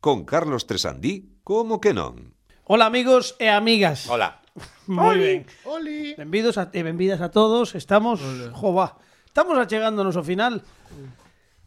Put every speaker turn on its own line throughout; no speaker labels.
Con Carlos Tresandí, como que non?
Ola amigos e amigas.
Hola.
Moi
Oli,
ben.
Oli.
Benvidos a, e benvidas a todos. Estamos, jova, estamos achegándonos ao final.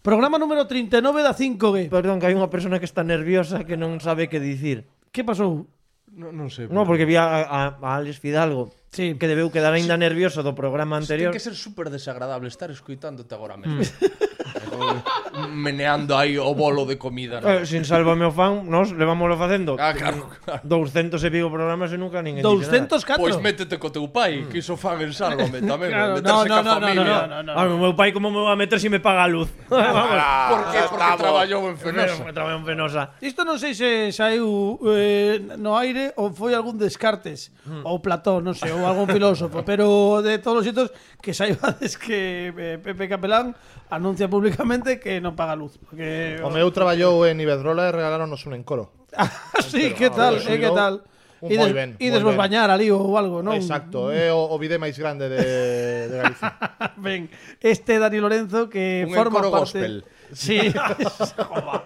Programa número 39 da 5G.
Perdón, que hai unha persona que está nerviosa que non sabe que dicir.
Que pasou?
No, non sei.
No, porque vi a, a, a Alex Fidalgo
Sí.
que debeu quedar aínda nervioso do programa anterior.
Ten que ser super desagradable estar escoitándote agora mesmo. Mm. Meneando aí o bolo de comida.
Eh,
¿no?
sin sálvame o fan, nos levámoslo facendo.
Ah, claro, claro.
200 e pico programas e nunca ninguén dixe
204.
nada.
Pois métete co teu
Mm.
pai, que iso fan en Sálvame tamén,
Claro,
claro, meterse
no, no,
no,
no,
ca familia.
no, no, no.
Ah, o meu pai como me va a meter se me paga a luz. Vamos.
Por que? Porque traballou en Fenosa.
Pero, traballou en Fenosa.
Isto non sei se saiu eh, no aire ou foi algún Descartes
Hmm.
ou Platón, non sei, ou algún filósofo, pero de todos os xeitos que saibades que eh, Pepe Capelán anuncia públicamente que non paga luz. Que,
O meu traballou en Iberdrola e regaláronos un encoro.
sí, que tal, eh, que tal.
Un
Ides-
moi ben,
Ides vos
moi ben.
bañar ali ou algo, non?
Exacto, é o, o bidé máis grande de, de Galicia.
Ben, este Dani Lorenzo que
Un
forma
encoro
parte...
gospel.
Sí, Jova.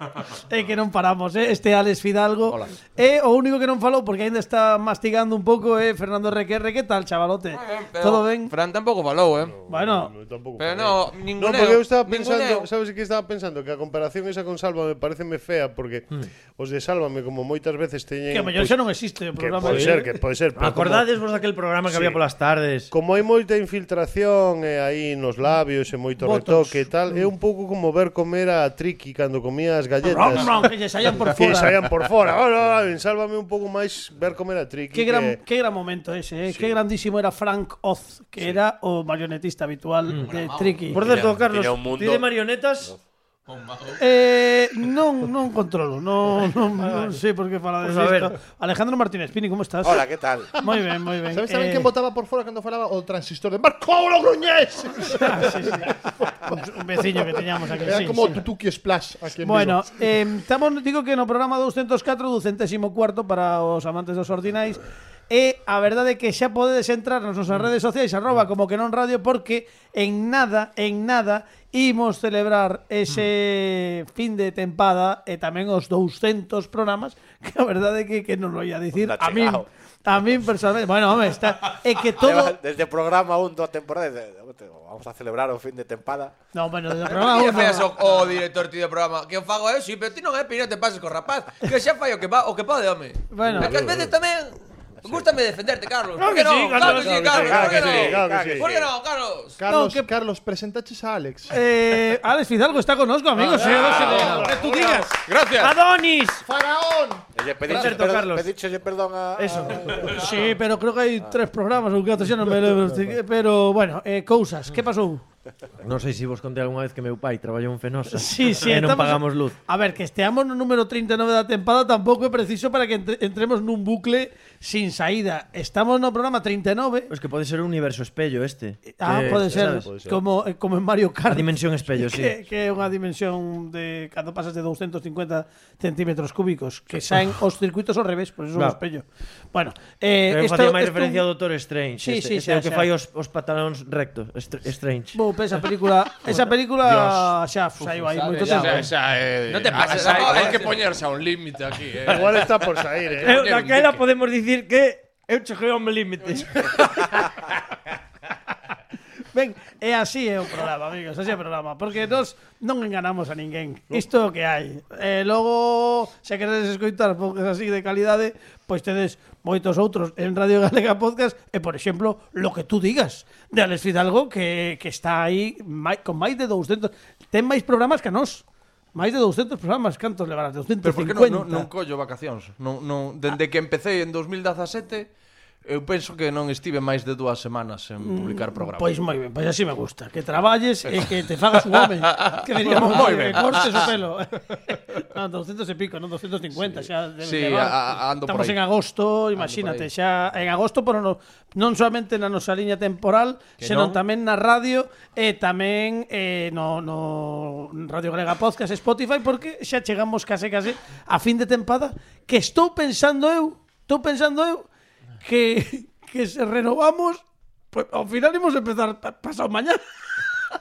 é que non paramos, eh? este Alex Fidalgo.
Hola.
É o único que non falou porque aínda está mastigando un pouco, eh, Fernando Requerre, que tal, chavalote? Todo ben?
Fran tampouco falou, eh?
Bueno,
Tampouco.
Pero no, ninguneo.
No, porque eu estaba pensando,
ninguneo.
sabes que estaba pensando que a comparación esa con Sálvame pareceme fea porque os de Sálvame como moitas veces teñen
Hmm. que a mellor xa non existe o
Pues que
programa.
pode ser, que pode ser,
Ah,
pero
Acordades vos daquel programa que
Sí.
había polas tardes.
Como hai moita infiltración e aí nos labios e moito
Botox.
retoque e tal, é un pouco como ver comer a Triqui cando comía as galletas.
Hmm. Ron, ron, que lle saían por fora.
que saían por fora. Ora, ora, en sálvame un pouco máis ver comer a Triqui.
Qué gran, qué gran momento ese, ¿eh? qué grandísimo era Frank Oz, que era o marionetista
Mm.
habitual de Tricky.
Por certo, Carlos,
tiña un mundo-
ti de marionetas,
Eh, non, non controlo, non, non, non sei por que falar
Pues a ver.
disto. Alejandro Martínez Pini, como estás?
Hola, ¿qué tal?
Moi ben, moi ben.
Sabes tamén quen votaba por fora cando falaba o transistor de Marco Logroñés?
Ah, sí, sí. Pues Un- Un veciño que teñamos aquí,
Era
sí,
como
sí.
Tutuki Splash aquí en
Bueno,
Vigo.
eh, estamos, digo que no programa 204 do centésimo cuarto para os amantes dos ordinais E a verdade é que xa podedes entrar nas nosas
Mm.
redes sociais Arroba como que non radio Porque en nada, en nada Imos
Mm.
celebrar ese fin de tempada E tamén os 200 programas Que a verdade é que, que non lo ia dicir
Onda
A min,
chegao.
a min personalmente Bueno, home, está É que todo
Además, Desde o programa 1 da temporada, desde- eh, vamos a celebrar o fin de tempada.
No, bueno, do
Ah,
programa
que
uno-
fez o, o oh, director ti do programa Que eu fago eu, si, pero ti non é pino te pases co rapaz Que xa fai o que, va, o que pode, home
Bueno.
É que ás veces tamén Gústame defenderte, Carlos
Claro
Por que
que sí,
non?
Carlos,
Claro que sí, Carlos
claro que
por
sí,
non?
claro que sí.
Por que non, Carlos?
Carlos,
no, que-
Carlos, presentaches a Alex.
Eh, Alex Fidalgo está con nosco, amigos eh, vos, eh, lo que tú digas
Gracias
Adonis.
¡Faraón!
E lle pediche,
Certo, Carlos.
perdón, pediche perdón a... Ah.
Eso.
Sí, pero creo que hay tres programas, aunque hasta ya no me lembro. Pero bueno, eh, cousas, ¿qué pasó?
Non sei se vos contei algunha vez que meu pai traballou en Fenosa.
Sí, sí,
e non
estamos-
pagamos luz.
A ver, que esteamos no número 39 da tempada tampouco é preciso para que entre- entremos nun bucle sin saída. Estamos no programa 39.
Es que pode ser un universo espello este.
Ah,
Que,
pode ser,
sabes?
como eh, como en Mario
A
Kart.
dimensión espello, sí.
Que, que é unha dimensión de cando pasas de 250 centímetros cúbicos que saen os circuitos ao revés, por eso é un
Claro.
espello. Bueno, eh,
Pero eu
isto-
facía
isto-
máis referencia ao Doctor Strange.
Sí, sí,
este, este
xa,
é o que
xa.
fai os, os pantalóns rectos. Str Strange.
Bou, esa película, esa película xa saiu aí moito
Esa,
tempo.
esa, eh,
Non te pases,
esa-
no,
Hai
eh.
que poñerse a un límite aquí, eh.
Igual está por sair, eh.
Eu,
poñer un
daquela
dique.
podemos dicir que eu cheguei ao meu límite.
Ben, é así é o programa, amigos, así é o programa, porque nós non enganamos a ninguén. Isto é o que hai. E logo, se queredes escoitar podcast así de calidade, pois tedes moitos outros en Radio Galega Podcast e, por exemplo, lo que tú digas de Alex Fidalgo que, que está aí mai, con máis de 200... Ten máis programas que a nós. Máis de 200 programas, cantos levarás? 250.
Pero por que non, non, non collo vacacións? Non, non, dende que empecé en 2017, eu penso que non estive máis de dúas semanas en publicar programas.
Pois moi ben, pois así me gusta Que traballes e que te fagas un home Que diríamos moi
Moi
ben
ben.
Cortes o pelo non, 200 e pico, non 250 Xa debe
Sí,
levar.
a- a- ando
Estamos
por aí.
en agosto, imagínate
por aí.
xa En agosto, pero non, non solamente na nosa liña temporal
Que
Senón
non.
tamén na radio E tamén eh, no, no Radio Galega Podcast e Spotify Porque xa chegamos case case a fin de tempada Que estou pensando eu Estou pensando eu que, que se renovamos, pues, ao final imos empezar pa- pasado mañá.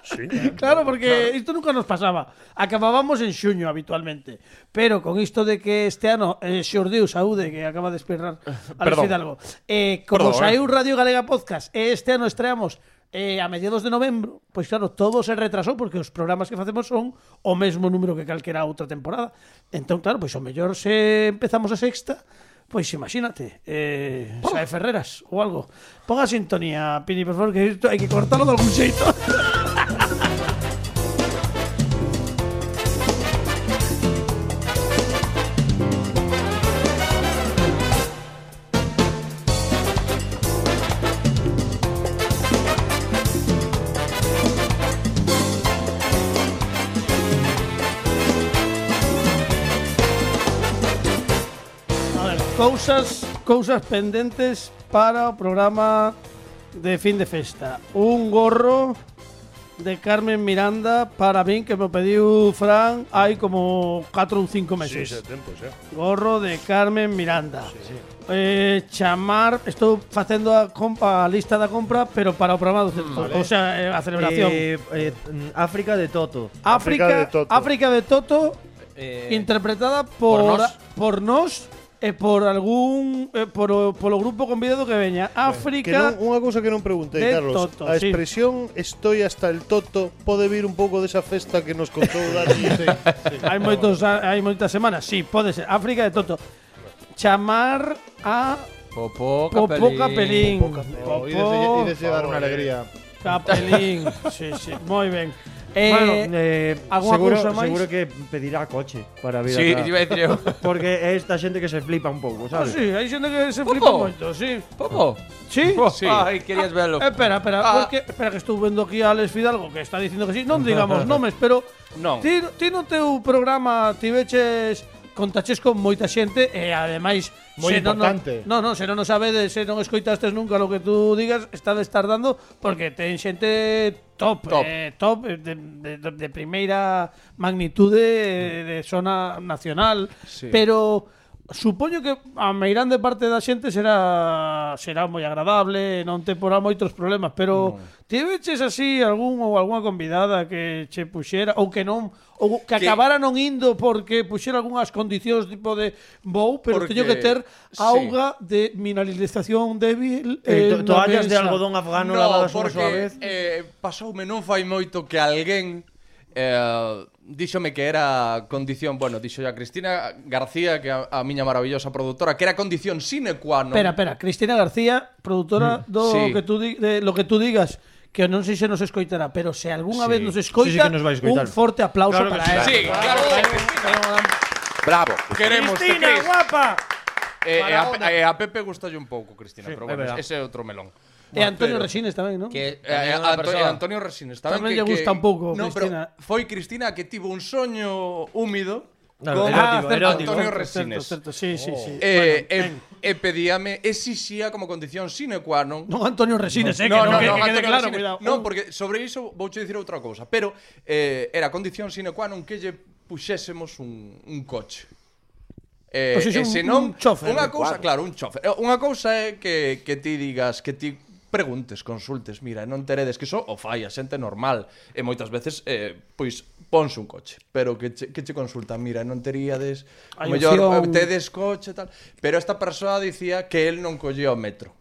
Sí.
Claro, porque isto nunca nos pasaba. Acabábamos en xuño habitualmente, pero con isto de que este ano eh, xordiu Saúde que acaba de esperar a
Perdón.
Fidalgo. Eh, como
Perdón,
saiu Radio Galega Podcast e este ano estreamos eh, a mediados de novembro, pois claro, todo se retrasou porque os programas que facemos son o mesmo número que calquera outra temporada. Entón, claro, pois o mellor se empezamos a sexta, pois imagínate, eh, Sae Ferreras ou algo. Ponga sintonía, Pini, por favor, que isto hai que cortalo de algún xeito. A ver, cousas, cousas pendentes para o programa de fin de festa. Un gorro de Carmen Miranda para min que me pediu Fran hai como 4 ou 5
Sí,
meses.
xa tempo, xa.
Gorro de Carmen Miranda. Eh, chamar, estou facendo a, compa, a lista da compra, pero para o programa do vale. o sea, eh, a celebración.
Eh, eh, mm, África de Toto.
África,
África de Toto.
África de Toto interpretada por
por nós.
por nós e por algún eh, por o- polo grupo convidado que veña.
Que
África
non, unha cousa que non preguntei,
de
Carlos.
Toto,
a
sí.
expresión estoy hasta el toto pode vir un pouco desa festa que nos contou Dani. sí, sí.
hai moitos hai moitas semanas. Sí, pode ser África de Toto. Chamar a
Popó
Popó
Capelín.
Capelín.
Oh, y deseo, y deseo dar una alegría.
Capelín. Sí, sí, moi ben. Eh,
bueno, eh,
algunha
seguro,
cousa máis?
seguro que pedirá coche para vir
Sí,
acá.
te iba a decir yo.
Porque é esta xente que se flipa un pouco,
ah,
sabes?
sí, hai xente que se
Popó.
flipa moito, sí.
¿Popo?
Sí.
Sí. Ay, querías verlo.
Eh, Espera, espera,
Ah.
porque, espera que estou vendo aquí a Alex Fidalgo que está dicindo que sí. Non digamos nomes, pero
Non.
ti, ti no teu programa tiveches contaches con moita xente e ademais
Moi
se non-
importante.
Non, non, se non o sabedes, se non escoitastes nunca lo que tú digas, estades tardando porque ten xente top, top, eh, top eh, de, de, de, de primeira magnitude eh, de zona nacional, sí. pero supoño que a meirán de parte da xente será será moi agradable, non te porá moitos problemas, pero no. ti veches así algún ou algunha convidada que che puxera ou que non ou que, que
Que-
acabara non indo porque puxera algunhas condicións tipo de vou, pero
Porque-
teño que ter
sí.
auga de mineralización débil
Eh, to-
na
toallas de
mesa.
algodón afgano
No,
lavadas unha
porque
soa vez.
eh, pasoume non fai moito que alguén eh, díxome que era condición, bueno, dixo a Cristina García, que a, a miña maravillosa produtora, que era condición sine qua non.
Espera, espera, Cristina García, produtora
Mm,
do
Sí.
que tú di- de lo que tú digas, que non sei se nos escoitará, pero se algunha
Sí.
vez nos escoita,
Sí, sí que nos vai escoitar.
un forte aplauso
Claro que
para
sí.
ela.
Sí, claro.
Bravo.
Queremos que
Cristina,
Cris-
guapa.
Eh, eh, a,
Maradona.
eh, a Pepe gustalle un pouco, Cristina, pero
é
bueno,
verdad.
ese é outro melón.
E Antonio Resines tamén, non?
Que
Eh, eh,
también una
Anto-
persona.
Antonio Resines tamén,
Tamén
que,
lle gusta
que-
un pouco,
no,
Cristina.
Pero foi Cristina a que tivo un soño húmido
Claro,
Oh,
con
erótico,
ah,
erótico.
Antonio
certo,
Resines.
Certo, certo, sí, sí, sí.
Eh,
Bueno,
eh, eh, pedíame exixía como condición sine qua non
non Antonio Resines, eh, que non, que, que quede
Antonio
claro,
Resines.
cuidado.
Non, porque sobre iso vouche dicir outra cousa, pero eh, era condición sine qua non que lle puxésemos un, un coche. Eh,
O sea,
e
un-
senón,
un chofer.
Unha cousa, claro, un chofer. Eh, Unha cousa é que, que ti digas, que ti preguntes, consultes, mira, e non teredes que iso o fai a xente normal e moitas veces eh, pois ponse un coche, pero que che, que che consultan, mira, e non teríades,
Hai
o mellor
opción.
eh, tedes coche e tal, pero esta persoa dicía que el non collía o metro.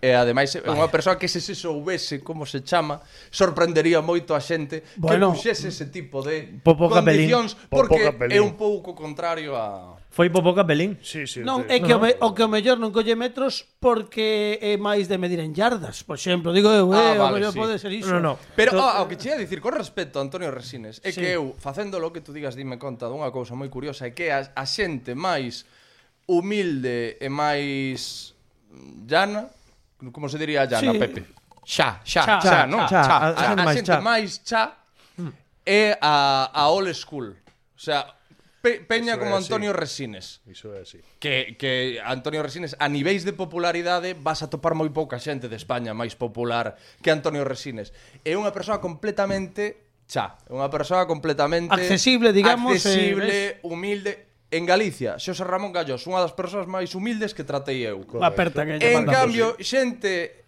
E ademais é unha persoa que se se soubese como se chama, sorprendería moito a xente
Bueno.
bueno, que puxese ese tipo de
Popó Capelín.
condicións
Popó
porque
Capelín.
é un pouco contrario a
Foi Popó Capelín.
Sí, sí.
Non,
sí.
é que o, me, o que o mellor non colle metros porque é máis de medir en yardas, por exemplo. Digo eu,
Ah,
eh, o
vale,
mellor
sí.
pode ser iso.
No, no.
Pero
To-
ah, o que che ia dicir con respecto a Antonio Resines é
Sí.
que eu facéndolo que tú digas dime conta dunha cousa moi curiosa é que a, a xente máis humilde e máis mm, llana, como se diría llana,
Sí.
Pepe? Xa, xa,
Xa,
xa,
xa,
xa, non?
xa,
Xa,
a- a
a,
xente
a
máis
xente
xa.
máis xa é a, a old school. O sea, pe, peña
Eso é
como
así.
Antonio Resines.
Iso é así.
que, que Antonio Resines a niveis de popularidade vas a topar moi pouca xente de España máis popular que Antonio Resines. É unha persoa completamente xa, é unha persoa completamente
Accesible, digamos, eh,
accesible, humilde en Galicia. Xosé Ramón Gallos, unha das persoas máis humildes que tratei eu.
Aperta que lle
En
manda.
cambio, xente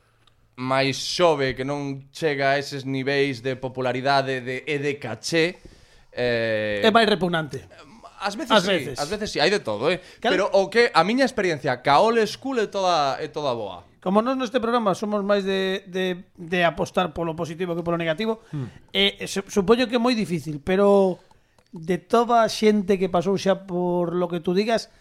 máis xove que non chega a eses niveis de popularidade de, e de caché eh,
É máis repugnante.
As veces,
Ás
sí,
veces.
ás veces sí, hai de todo, eh.
Cal-
Pero o que a miña experiencia, caole school é toda é toda boa.
Como nós neste programa somos máis de, de, de apostar polo positivo que polo negativo, eh, su- supoño que é moi difícil, pero de toda a xente que pasou xa por lo que tú digas,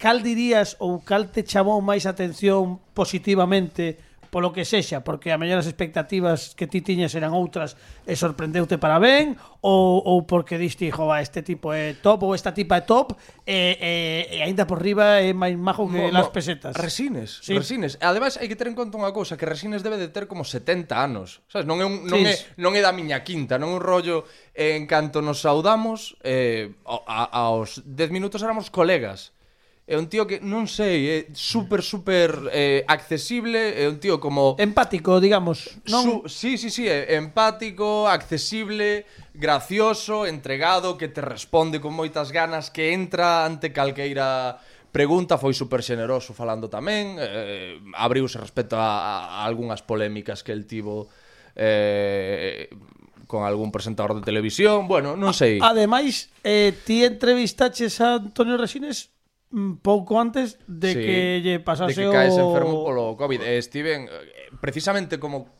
cal dirías ou cal te chamou máis atención positivamente polo que sexa, porque a mellor as expectativas que ti tiñas eran outras e sorprendeute para ben, ou, ou porque diste, jo, va, este tipo é top ou esta tipa é top, e, e, e aínda por riba é máis majo que
Mo-
las
mo-
pesetas.
Resines,
Sí.
resines. E Ademais hai que ter en conta unha cousa, que Resines debe de ter como 70 anos. Sabes, non é un non
Sí.
é non é da miña quinta, non é un rollo eh, en canto nos saudamos eh ao- a, aos 10 minutos éramos colegas. É un tío que non sei, é super super eh, accesible, é un tío como
empático, digamos. Non,
Su- sí, sí, sí, eh, empático, accesible, gracioso, entregado, que te responde con moitas ganas, que entra ante calqueira pregunta, foi super xeneroso falando tamén, eh, abriuse respecto a, a, a algunhas polémicas que el tivo eh, con algún presentador de televisión, bueno, non sei.
ademais, eh, ti entrevistaches a Antonio Resines mm, pouco antes de
Sí,
que lle pasase
de que caes
o...
enfermo polo COVID. Eh, Steven, eh, precisamente como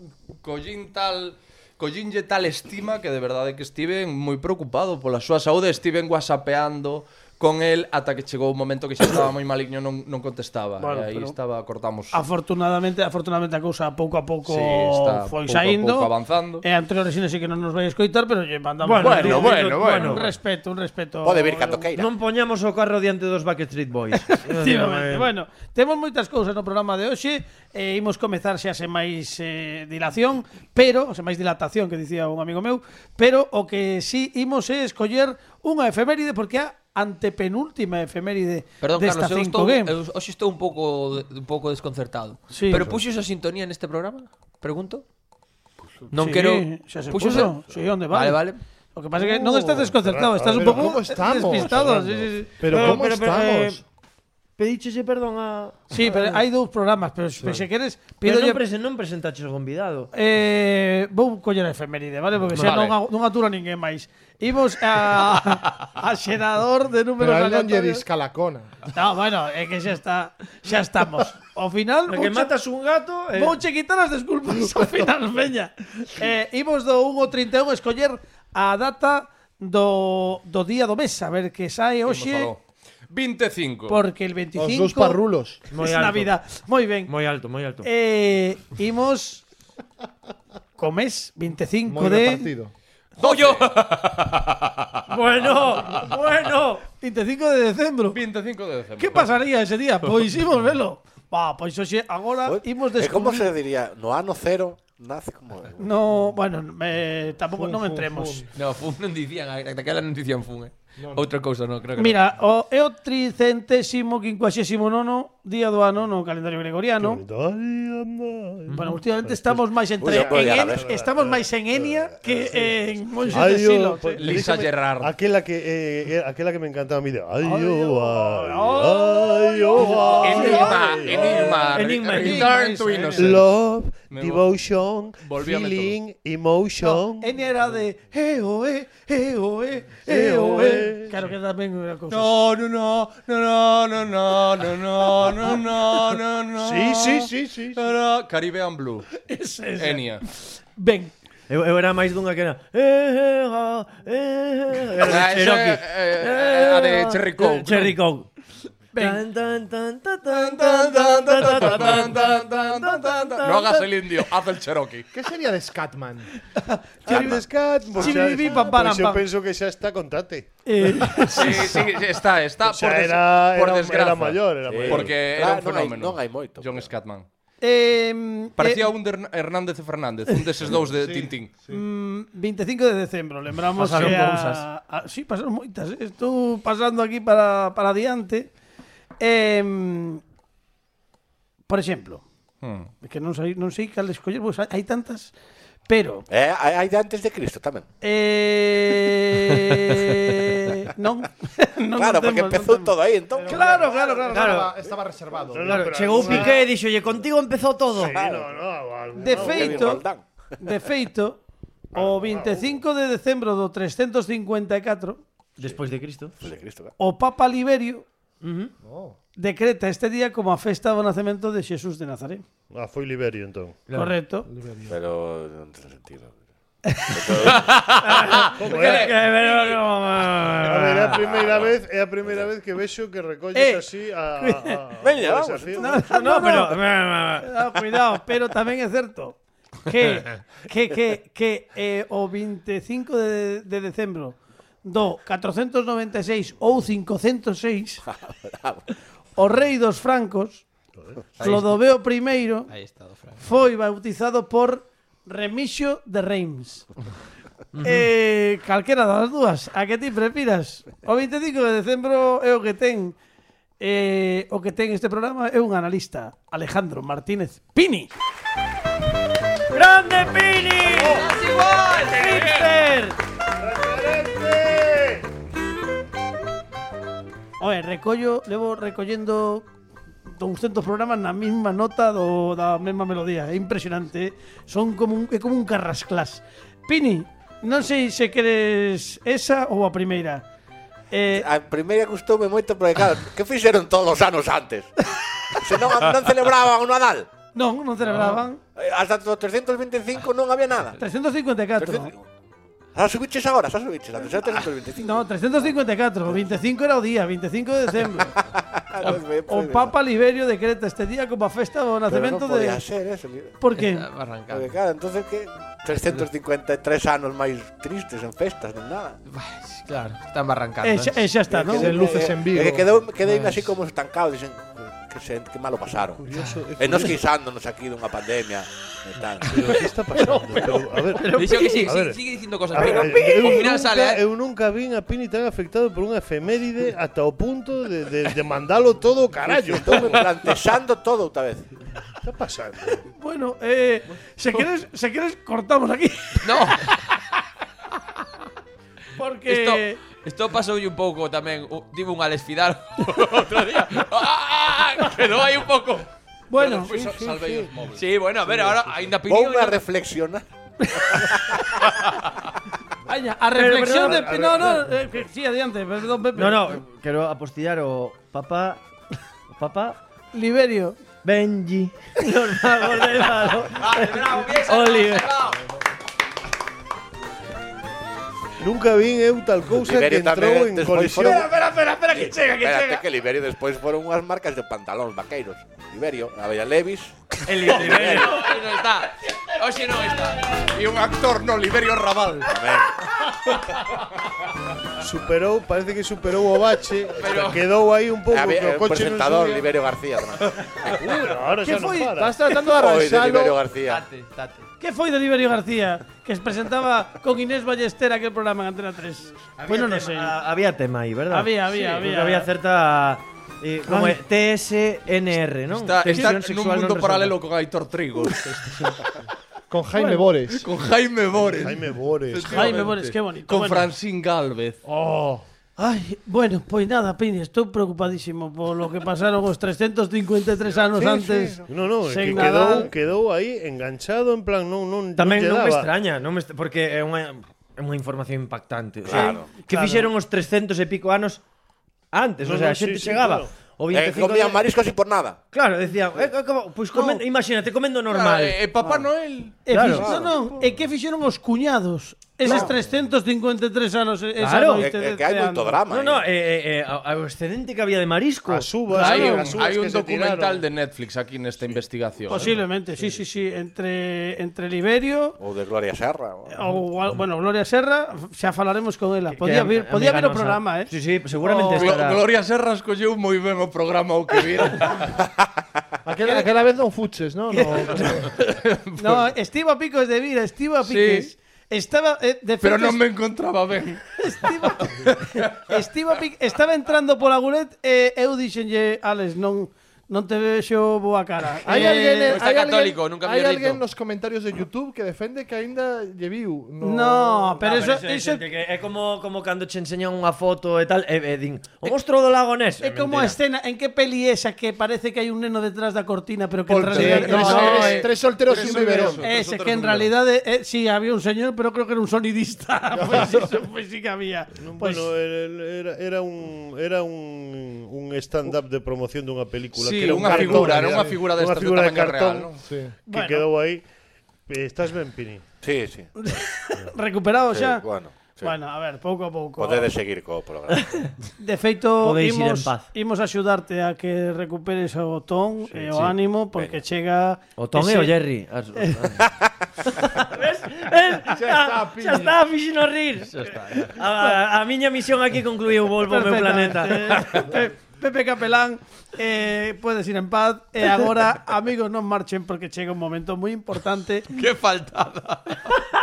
collín tal collínlle tal estima que de verdade que Steven moi preocupado pola súa saúde, Steven whatsappeando con el ata que chegou o momento que xa estaba moi maligno non, non contestaba.
Bueno,
e aí
pero-
estaba cortamos.
Afortunadamente, afortunadamente a cousa pouco a pouco
Sí, está
foi
pouco a
saindo.
pouco avanzando.
E Antonio Resines sí que non nos vai escoitar, pero lle mandamos
Bueno, bueno, bueno, bueno.
un respeto, un respeto.
Pode vir cando queira.
Non poñamos o carro diante dos Backstreet Boys.
Efectivamente. Bueno, temos moitas cousas no programa de hoxe e imos comezar xa sen máis eh, dilación, pero, sen máis dilatación que dicía un amigo meu, pero o que si imos é escoller unha efeméride porque a antepenúltima efeméride
Perdón,
desta 5
Carlos, eu estou,
game.
eu, hoxe estou un pouco un pouco desconcertado.
Sí.
Pero puxo esa sintonía neste programa? Pregunto.
non
quero-
xa se
puxo
puxo.
esa-
Sí, onde vale?
Vale, vale.
O que pasa é que non
Uh,
estás desconcertado,
Ferran,
estás un
pero
pouco
¿cómo estamos,
despistado.
Fernando?
Sí, sí, sí.
Pero,
Pero-
¿cómo
pero- pero, eh,
estamos?
Pedíchese perdón a...
sí, pero hai dous programas, pero se se queres,
Pero non,
pídolle
presen, non presentaches o convidado.
Eh, vou coller a efeméride, vale? Porque xa non,
Vale.
a- non atura ninguén máis. Imos a, a xerador de
Pero
números
a él non lle
aleatorios.
dis calacona.
No, bueno, é que xa está, xa estamos. Ao final,
Porque
vouche-
matas un gato... Eh...
vouche quitar as desculpas ao final, veña. Eh, imos do 1 ao 31 escoller a data do, do día do mes, a ver que sae hoxe,
25.
porque el
Os
25
dos parrulos.
é
Moi alto.
Navidad. Moi ben.
Moi alto, moi alto.
Eh, imos co mes 25
Moi
de
repartido.
Ollo.
Bueno, bueno.
25 de decembro.
25 e de decembro.
Que pasaría ese día? Pois imos velo. Va, pues pois hoxe agora
Pues,
Oi,
imos
eh,
E como
descubrir.
se diría? No ano cero nace como...
No, bueno, eh, me, tampouco non entremos.
No, fun non dicían, daquela non dicían fun, eh. Outra cousa non, creo que
Mira, o é o tricentésimo quincuaxésimo nono día do ano no calendario gregoriano. Bueno, últimamente estamos máis
Ui,
entre en,
oi,
en,
a ver.
estamos máis en Enia que en Monxe
Ay,
de
yo,
Silos.
pues,
eh.
Lisa
déjame-
Gerrard.
Aquella que, eh, eh, aquella que me encantaba a mí de. Ay,
Ay,
yo,
oh,
ay,
ay,
ay, oh, ay,
Enigma,
ay,
enigma,
Enigma,
re-
enigma,
Return
eso,
to
eh.
Innocence.
Love,
Me vo-
devotion,
Volví a
feeling,
No,
emotion.
Enia era de eh, oh, eh, eh, oh, eh, eh, oh,
E.
eh. Claro que tamén era cousa.
No, no, no, no, no, no, no, no, no, no, no, no.
Sí, sí, sí, sí. sí.
Era Caribbean Blue.
Ese, ese.
Enya.
Ben,
Eu, eu era máis dunha que era... Eh, eh, ah, eh, eh, era
Ah,
de
eso
Cherokee.
é, eh, eh, a de Cherry Coke, non?
Cherry Coke.
Ben.
Tan, tan, tan, tan, tan, tan, tan, tan, tan, tan, tan.
No hagas el indio, haz el Cherokee.
Que sería de Scatman?
Charles Cat, pues
Sí,
xa-
vi, vi, pam, pam,
pues yo
pam.
pienso que ya está con Tate.
eh,
Sí, sí, sí, está, está
O sea,
por, des-
era-
por
era-
desgraza.
era mayor, era mayor.
Porque
Ah,
era un
Claro, non hai-
fenómeno.
non hai moito,
John
pero-
Scatman.
eh,
Parecía un de Hern- Hernández e Fernández, un deses dous de Tintín.
Mm, 25 de decembro, lembramos
Pasaron
que eh, a-
cousas.
a- sí, pasaron moitas. eh. Estou pasando aquí para, para diante. Em, por exemplo,
Hmm.
é que non sei, non sei cal escoller, pois hai, hai pues tantas, pero
Eh, hai hai de antes de Cristo tamén.
eh, eh, non, non non
Claro, porque
temos, non
empezou
temos.
todo aí, entón.
Claro, claro, claro.
Claro.
Estaba, estaba reservado.
No,
Claro,
pero
chegou
alguna-
Piqué e dixo, contigo empezou todo.
Sí, no, no, alguna-
De
alguna-
Kevin
feito,
Roldán.
de feito, o 25 de decembro do 354,
Despois de Cristo.
De Cristo, claro.
o Papa Liberio decreta este día como a festa do nacemento de Xesús de Nazaret.
Ah, foi Liberio entón.
Correcto.
Pero non ten sentido.
Como é? A ver, é a
Pero
primeira vez, é a primeira vez que vexo que recolles
Eh,
así a, a, a
Veña,
a
vamos,
desafío.
no, pero
Ah, cuidado, pero tamén é certo que que que que eh, o 25 de, de decembro do 496 ou 506
Ah,
o rei dos francos Clodoveo I
Ahí está, do Frank.
foi bautizado por Remixio de Reims. eh, calquera das dúas, a que ti prefiras? O 25 de decembro é o que ten eh, o que ten este programa é un analista, Alejandro Martínez Pini.
Grande Pini.
Hitler. Oe, recollo, levo recollendo 200 programas na mesma nota do, da mesma melodía. É impresionante. eh. Son como un, é como un carrasclás. Pini, non sei se queres esa ou a primeira. Eh,
A primeira gustoume moito porque, claro, que fixeron todos os anos antes? Se non, non celebraban o Nadal.
non, non celebraban.
Eh, Hasta o 325 non había nada.
354.
Xa subiches agora, xa subiches. A 325.
No, 354. O 25 era o día, 25 de decembro.
O,
Ah, O Papa Liberio decreta este día como a festa do
Pero
nacemento
non
de...
podía ser eso. ni-
Por que?
Está arrancado.
Porque, claro, entonces que 353 anos máis tristes en festas, non nada.
Vais, Claro, están barrancando. ¿eh?
E xa, e xa está, non?
se luces en Vigo.
É que quedou, quedei así como estancado, dicen que, se, que malo pasaron.
Curioso, é
E nos queixándonos aquí dunha pandemia e tal.
Pero que está pasando? Pero, a ver,
Dice que sí,
A
sí,
ver.
sigue diciendo cosas.
a ver,
pero
eu,
al final
nunca,
sale. ¿eh?
eu nunca vin a Pini tan afectado por unha efeméride ata o punto de, de, de mandalo todo o carallo.
Estou me plantexando todo outra vez.
Está pasando?
Bueno, eh, se queres, se queres cortamos aquí.
No,
Porque
esto, esto pasó hoy un poco también. Uh, Digo un Alex Fidal otro día. ¡Ah! Quedó ahí un poco.
bueno,
Pues, salvei os móviles. Sí, bueno, a ver, ahora hay una
Vou
opinión.
a reflexionar.
vaya, a reflexión
pero-
de
a
no,
ver,
no, eh, que- sí, adiante, perdón, Pepe.
No, no, quero apostillar o Papa o Papa
Liberio.
Benji. Los magos del malo.
bravo, bien,
Oliver.
salvado.
Nunca vin eu tal cousa que
Liberio
entrou en
tamén despois
colisión.
foron...
Espera, espera, espera, que chega, que
Espérate que Liberio despois foron unhas marcas de pantalóns vaqueiros. Liberio, Avella Levis,
Hoxe non está. Hoxe non está.
E un actor, no, Liberio Raval.
tamén.
Superou, parece que superou o bache,
Pero-
pero quedou aí un pouco
Había,
que o
eh,
coche non
presentador
subía.
Liberio García. tamén.
Uy, ahora
¿Qué
xa non
foi?
para.
Estás tratando de
Oi, de
arranxalo.
Liberio García.
Tate, tate.
¿Qué foi de Liberio García? Que se presentaba con Inés Ballester aquel programa en Antena 3. Bueno, no sé.
Ah, Había tema aí, verdad?
Había, había,
porque
había.
Había certa eh, como é TSNR, non?
Está, está
Tensión
en un
sexual
mundo
non resolta.
paralelo con Aitor Trigo.
Con Jaime Bores.
con Jaime Bores.
Jaime Bores.
Jaime Bores, qué bonito.
Con
Bueno.
Francín Galvez.
Oh.
Ai, bueno, pois nada, Pini, estou preocupadísimo polo que pasaron os 353 anos
Sí,
antes.
sí.
No, no, é
sen
que
Nadal.
quedou, quedou aí enganchado en plan non non
Tamén
lle
non me
daba.
extraña, non me est- porque é unha é unha información impactante, o sea,
Claro.
que
Claro.
fixeron os 300 e pico anos antes, o
No,
sea, a
no,
xente
sí, sí,
chegaba
claro.
o
Eh,
25
comían
de-
mariscos e por nada.
Claro, decían, eh, eh, como, pois comendo, imagínate, comendo normal.
Claro, eh, Papá Noel.
E
Claro.
fix- non, non, e que fixeron os cuñados eses 353 anos e- esa
Claro.
É
noite
que, é
de
que hai
ceando?
moito drama.
no, no,
eh.
eh, eh, eh, ao ao excedente que había de marisco.
As uvas,
Hay un,
claro, as uvas
hay un
que se
documental
tiraron.
de Netflix aquí en esta investigación.
Posiblemente, sí, sí, sí, entre entre Liberio
Ou de Gloria Serra. ou-
ou al- bueno, Gloria Serra, xa falaremos con ela.
Que-
Podía
que
vir,
am-
podía vir o
amiga nosa.
programa, eh.
Sí, sí, seguramente
Glo-
estará.
Gloria Serra escolleu moi ben o programa o que vira.
Aquela, aquela vez non fuches, non? No,
Oh. No, Estiva Picos de Vira, Estiva
Sí.
Piques. Estaba eh, de
pero
feito,
non me encontraba ben.
Estiva, Estiva Pic- estaba entrando pola Guret e eu dixenlle, Alex, non non te vexo boa cara.
Hai
Eh,
alguén,
pois está
hai
católico,
alguén-
nunca
hai
mellorito.
alguén nos comentarios de YouTube que defende que aínda lle viu. No.
No, pero
Ah,
eso,
é
eso,
xente que é como como cando che enseñan unha foto e tal, e, e din, o monstro do lago Ness.
É como a escena, en que peli é esa que parece que hai un neno detrás da cortina, pero que en realidad...
Poltergeist. No,
Ese-
eres
eh,
tres solteros
tres
y un biberón.
Ese,
solteros.
que
solteros
en
número.
realidad eh, sí, había un señor, pero creo que era un sonidista. pues eso, pues sí que había. Pues,
bueno, era, era, era un era un, un stand-up de promoción dunha película
Sí,
que era un
unha
cartón,
figura, era
era
unha figura destas
unha
de
figura de
tamaño
cartón
real, non?
Sí.
que
Bueno.
quedou aí. Eh, Estás ben, Pini?
Sí, sí.
recuperado
sí,
xa.
bueno, sí.
Bueno, a ver, pouco a pouco.
Podedes seguir co programa.
De feito,
Podeis ir
imos,
en paz.
imos axudarte a que recuperes o ton e o ánimo porque chega
O Tom
ese-
e o Jerry. As- Ves? Ves?
Xa está,
Ah,
piña.
Xa está, fixino rir. A, a, a miña misión aquí concluiu, volvo ao meu planeta.
Perfectamente. Pe- Pepe Capelán, eh, puedes ir en paz. E agora, amigos, non marchen porque chega un momento moi importante.
¡Qué faltada!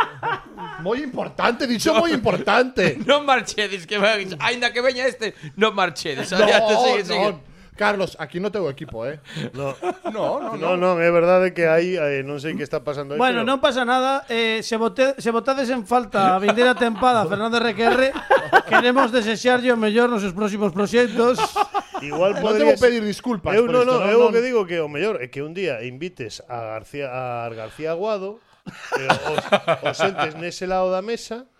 Muy importante, dicho muy importante.
No marchedes, que veña- aínda que veña este, no marchedes.
No,
Adiante, sigue,
no.
sigue.
Carlos, aquí no tengo equipo, ¿eh?
No.
No, no,
No, non, é verdade que hai eh, non sei que está pasando aí,
Bueno,
pero-
non pasa nada. Eh, se, vote, se votades en falta a vindeira tempada a Fernández Requerre, queremos desexarlle o mellor nos seus próximos proxectos.
No
Igual podría
debo pedir disculpas.
Eu
por
non,
esto,
non, eu o
non.
que digo que o mellor é que un día invites a García a García Aguado, eh, os, os entes nese lado da mesa,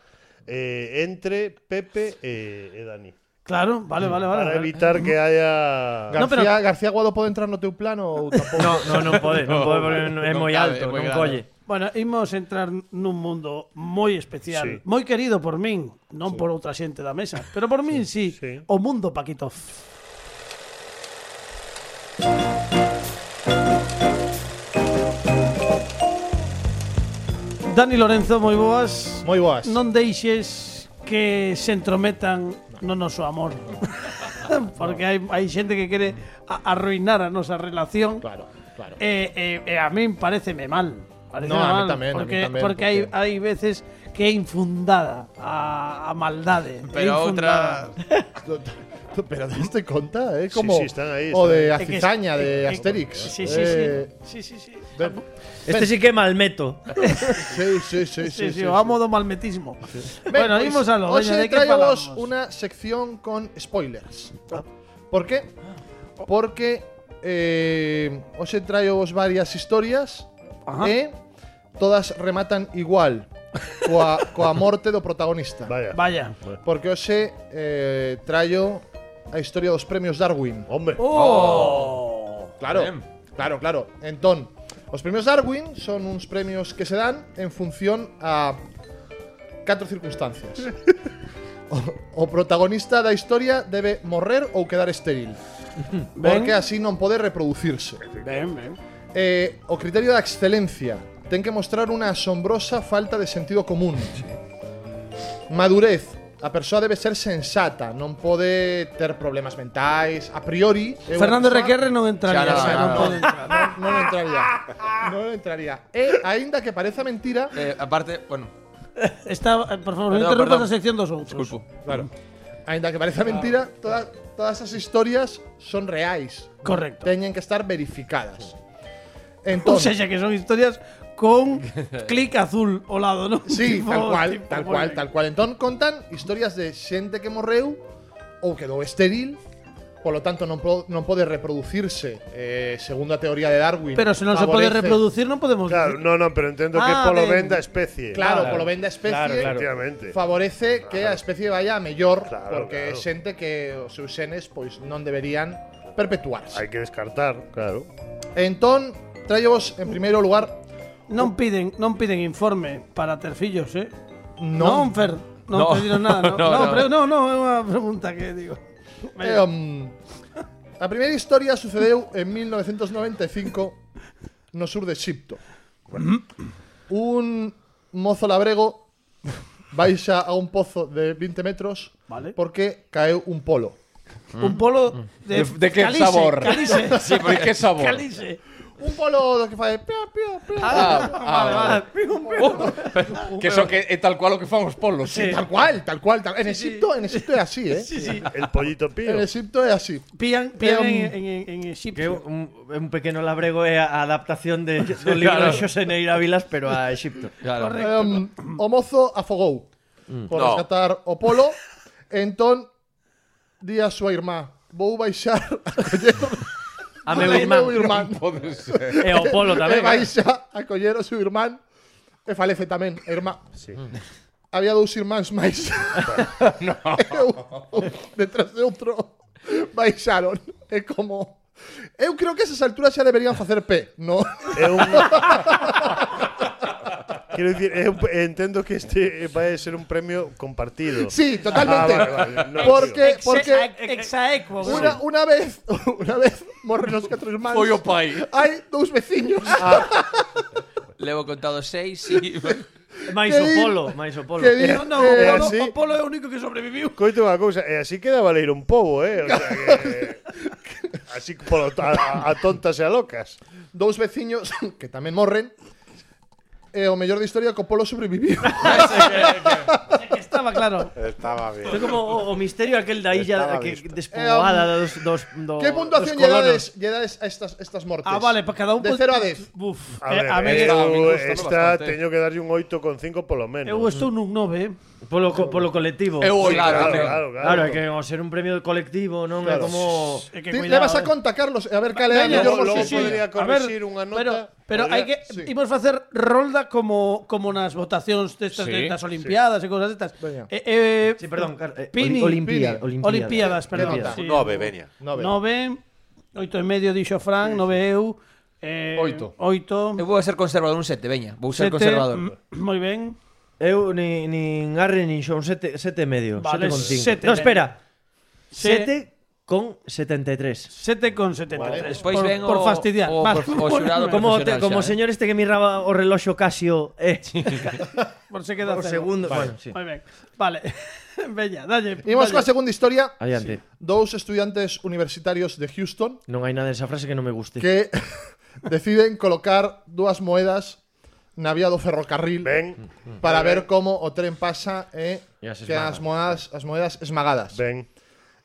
eh, entre Pepe e, e Dani.
Claro, vale, vale, vale.
Para
vale.
evitar que haya...
García,
No, pero-
García Guado pode entrar no teu plano ou tampouco?
No, no, non pode, non pode porque non- é
Non
moi
cabe,
alto,
é moi
non
grande.
colle.
Bueno, imos entrar nun mundo moi especial,
Sí.
moi querido por min, non por outra xente da mesa, pero por min sí,
sí.
o mundo Paquitov. Dani Lorenzo, moi boas.
Moi boas.
Non deixes que se entrometan no noso amor. Porque hai, hai xente que quere a- arruinar a nosa relación.
Claro, claro.
Eh, eh, eh, a mí pareceme mal. Pareceme
No, a mí
mal,
tamén, a mí
porque,
tamén,
Porque hai,
porque-
hai veces que é infundada a, a maldade. é
Pero
infundada.
otra...
Pero diste conta, eh, como
sí, están ahí,
o
están
de
É
a
que es-
cizaña
é-
de
é-
Asterix.
Sí, sí,
Eh,
sí. sí, sí, sí.
de-
Este sí que é malmeto.
sí, sí, sí, pues,
Sí, sí, o amo do malmetismo.
Ben,
Bueno,
pues,
pois,
imos a lo.
hoxe
veña, de que
traio vos
falamos?
una sección con spoilers.
Ah.
Por qué? Porque eh, hoxe traio vos varias historias
Ajá.
e todas rematan igual coa, coa morte do protagonista.
Vaya.
Vaya.
Porque hoxe eh, traio a historia dos premios Darwin.
Hombre,
Claro, claro, claro. Entón, os premios Darwin son uns premios que se dan en función a catro circunstancias. O, o protagonista da historia debe morrer ou quedar estéril. Porque así non pode reproducirse.
Ben, ben.
Eh, o criterio da excelencia. Ten que mostrar unha asombrosa falta de sentido común. Madurez. A persoa debe ser sensata, non pode ter problemas mentais. A priori... é unha
Fernando
persoa-
Requerre non entraría,
Xa,
xa,
xa,
non
xa.
pode entrar.
non, non entraría. Non entraría. E, aínda que pareza mentira,
Eh, aparte, bueno,
Está, eh, por favor, non
Perdón,
interrumpas
perdón.
a sección dos outros.
disculpo.
claro. Aínda que pareza mentira, toda- todas as historias son reais.
Correcto.
Teñen que estar verificadas.
Ou
Entón,
seja, que son historias con clic azul ao lado, non?
sí,
Tipo-
tal cual,
tipo,
tal
moi
cual,
ben.
tal cual. Entón contan historias de xente que morreu ou quedou estéril, Por lo tanto, non, pro- non pode reproducirse eh, segundo a teoría de Darwin.
Pero se non se pode
favorece-
reproducir, non podemos
claro, no, no, pero entendo que
Ah,
polo
ben.
ben da especie.
Claro, polo ben da especie,
Claro, claro.
Efectivamente.
favorece que a especie vaya a mellor
Claro,
porque é
claro.
xente que os seus xenes pois non deberían perpetuarse.
Hai que descartar, claro.
Entón, traio-vos en primeiro lugar
Non piden, non piden informe para ter fillos, eh?
non,
Fer, non
No.
pediron nada, non.
No,
No,
no.
pero non, non, é unha pregunta que digo.
eh, um, a primeira historia sucedeu en 1995 e no sur de Xipto. Un mozo labrego baixa a un pozo de 20 metros
Vale.
porque caeu un polo.
Un polo de
De- de que
calice,
sabor?
Calice.
Sí, pero ¿qué sabor?
Calice.
un polo do que fai pia, pia, pia.
Ah, ah,
Vale, vale. Pum, pum.
que eso que é tal cual o que fan os polos.
Sí, tal cual, tal cual, tal. En Egipto, en Egipto é así, eh.
Sí, sí.
El pollito pío.
En Egipto é así.
Pillan, pillan
un-
en, en, en- en Egipto.
Que un, un pequeno labrego é a adaptación de, do libro de Xosé Neira Vilas, pero a Egipto.
Claro.
Um, o mozo afogou
Mm.
por
No.
rescatar o polo. Entón, di a súa irmá, vou baixar a coller
A meu irmán.
irmán.
Pode ser.
E o polo
E
tamén. eh.
baixa a coller o seu irmán e falece tamén, a irmá. Mm.
Sí.
Había dous irmáns máis. Eu, un detrás de outro baixaron. É como... Eu creo que a esas alturas xa deberían facer P, no?
É un... Quiero decir, é un- entendo que este va a ser un premio compartido.
Sí, totalmente.
Ah, vale, vale. No,
porque
Exe-
porque
Eh, ex- Exaequo. güey.
Una, una vez, una vez morren os catro irmáns.
Foi o pai.
Hai dous veciños.
Ah,
Levo contado seis, sí.
Mais
que
o
di-
polo, mais o polo.
que di-
No, no,
Eh,
o, polo,
así.
o Polo é o único que sobreviviu.
Coito unha cousa, e así queda valer un pobo, eh? O sea, que... Así polo, a, a tontas e a locas.
Dous veciños que tamén morren. E o mellor da historia é que o polo sobreviviu.
Estaba claro.
Estaba
É
bien.
como o, o misterio aquel da illa
Estaba
que
visto.
despoboada dos, dos, do-
Que puntuación
dos
lle
colonos.
dades, lle dades a estas, estas mortes?
Ah, vale, para cada un...
De
pon-
cero a dez.
Buf.
A
eh,
ver,
a mí
eu,
eu-
gustou
esta
bastante.
teño que darlle un 8,5 polo menos.
eu estou nun 9, eh.
Polo, co- polo colectivo.
Eu o
claro,
tamén.
claro, claro.
Claro, é que ao ser un premio colectivo non é
Claro.
como...
É que
Ti
cuidado,
levas a
eh.
conta, Carlos, e a ver cal é a
Veña,
mellor
logo- logo
morcilla.
podría corrixir unha nota,
Pero, pero
podría-
hai que
sí.
imos facer rolda como como nas votacións destas
Sí,
das Olimpiadas e cousas destas.
Veña.
Eh, eh,
Sí, perdón, Car- eh,
Pini,
Oli- eh, Olimpíada,
Pini.
Olimpíada.
Olimpiadas, perdón.
Olimpíada.
sí.
Nove, veña.
Nove.
Nove, oito e medio dixo Fran, nove eu. Eh,
Oito.
Oito.
Eu vou ser conservador un sete, veña. Vou ser
sete,
conservador.
mm, Moi ben.
Eu ni, nin Arre nin Xon, sete, sete e medio.
Vale,
Vale, sete con cinco.
sete
no,
e medio.
espera.
Se-
Sete con 73.
Sete con 73.
Despois
por,
ven
por
o,
fastidiar.
o,
Vas,
prof- o xurado
Como, te,
profesional
como
xa, eh.
señor este que miraba o reloxo Casio eh,
por se queda
por
cero.
segundo. Bueno, sí.
Moi ben. Vale. Veña, dalle.
Imos coa
dalle.
segunda historia.
Adiante.
Dous estudiantes universitarios de Houston
Non hai nada en esa frase que non me guste.
que deciden colocar dúas moedas na vía do ferrocarril
Ben,
para ver como o tren pasa e
E as
que as moedas, as moedas esmagadas.
ben.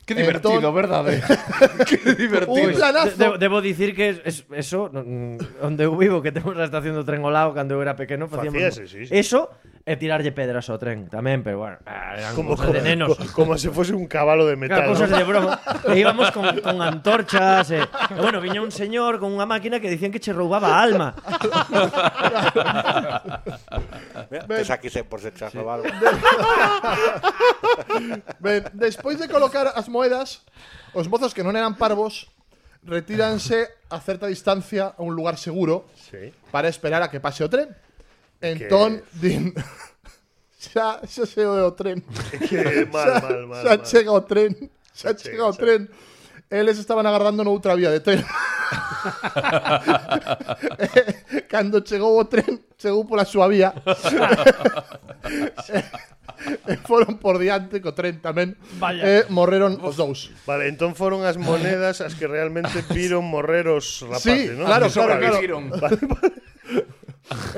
Que divertido,
Entón-
verdade? que divertido.
Un planazo.
De- de- debo dicir que es- es- eso, no- mm, onde eu vivo, que temos a estación do tren ao lado, cando eu era pequeno, facíamos
Facíase, sí, sí.
eso e tirarlle pedras ao tren tamén, pero bueno, ah, eran
Como,
cosas de nenos.
como, como se fose un cabalo de
Claro,
metal.
cosas
¿no?
de broma. E íbamos con, con antorchas. E, e bueno, viña un señor con unha máquina que dicían que che roubaba a alma.
Mira, te saquis en porcentaje o algo.
Ben, despois de colocar as moedas, os mozos que non eran parvos retíranse a certa distancia a un lugar seguro
Sí.
para esperar a que pase o tren. Entón, din... xa, xa se o tren.
Que mal, mal, mal.
xa
mal.
chega o tren. Xa,
Xa
chega o
chega, xa.
tren. Eles estaban agardando noutra vía de tren. Eh, Cando chegou o tren, chegou pola súa vía. E foron por diante co tren tamén.
Vaya.
E morreron os dous.
Vale, entón foron as monedas as que realmente viron morrer os rapaces,
Sí,
¿no?
claro,
Que
claro, claro.
sobreviviron.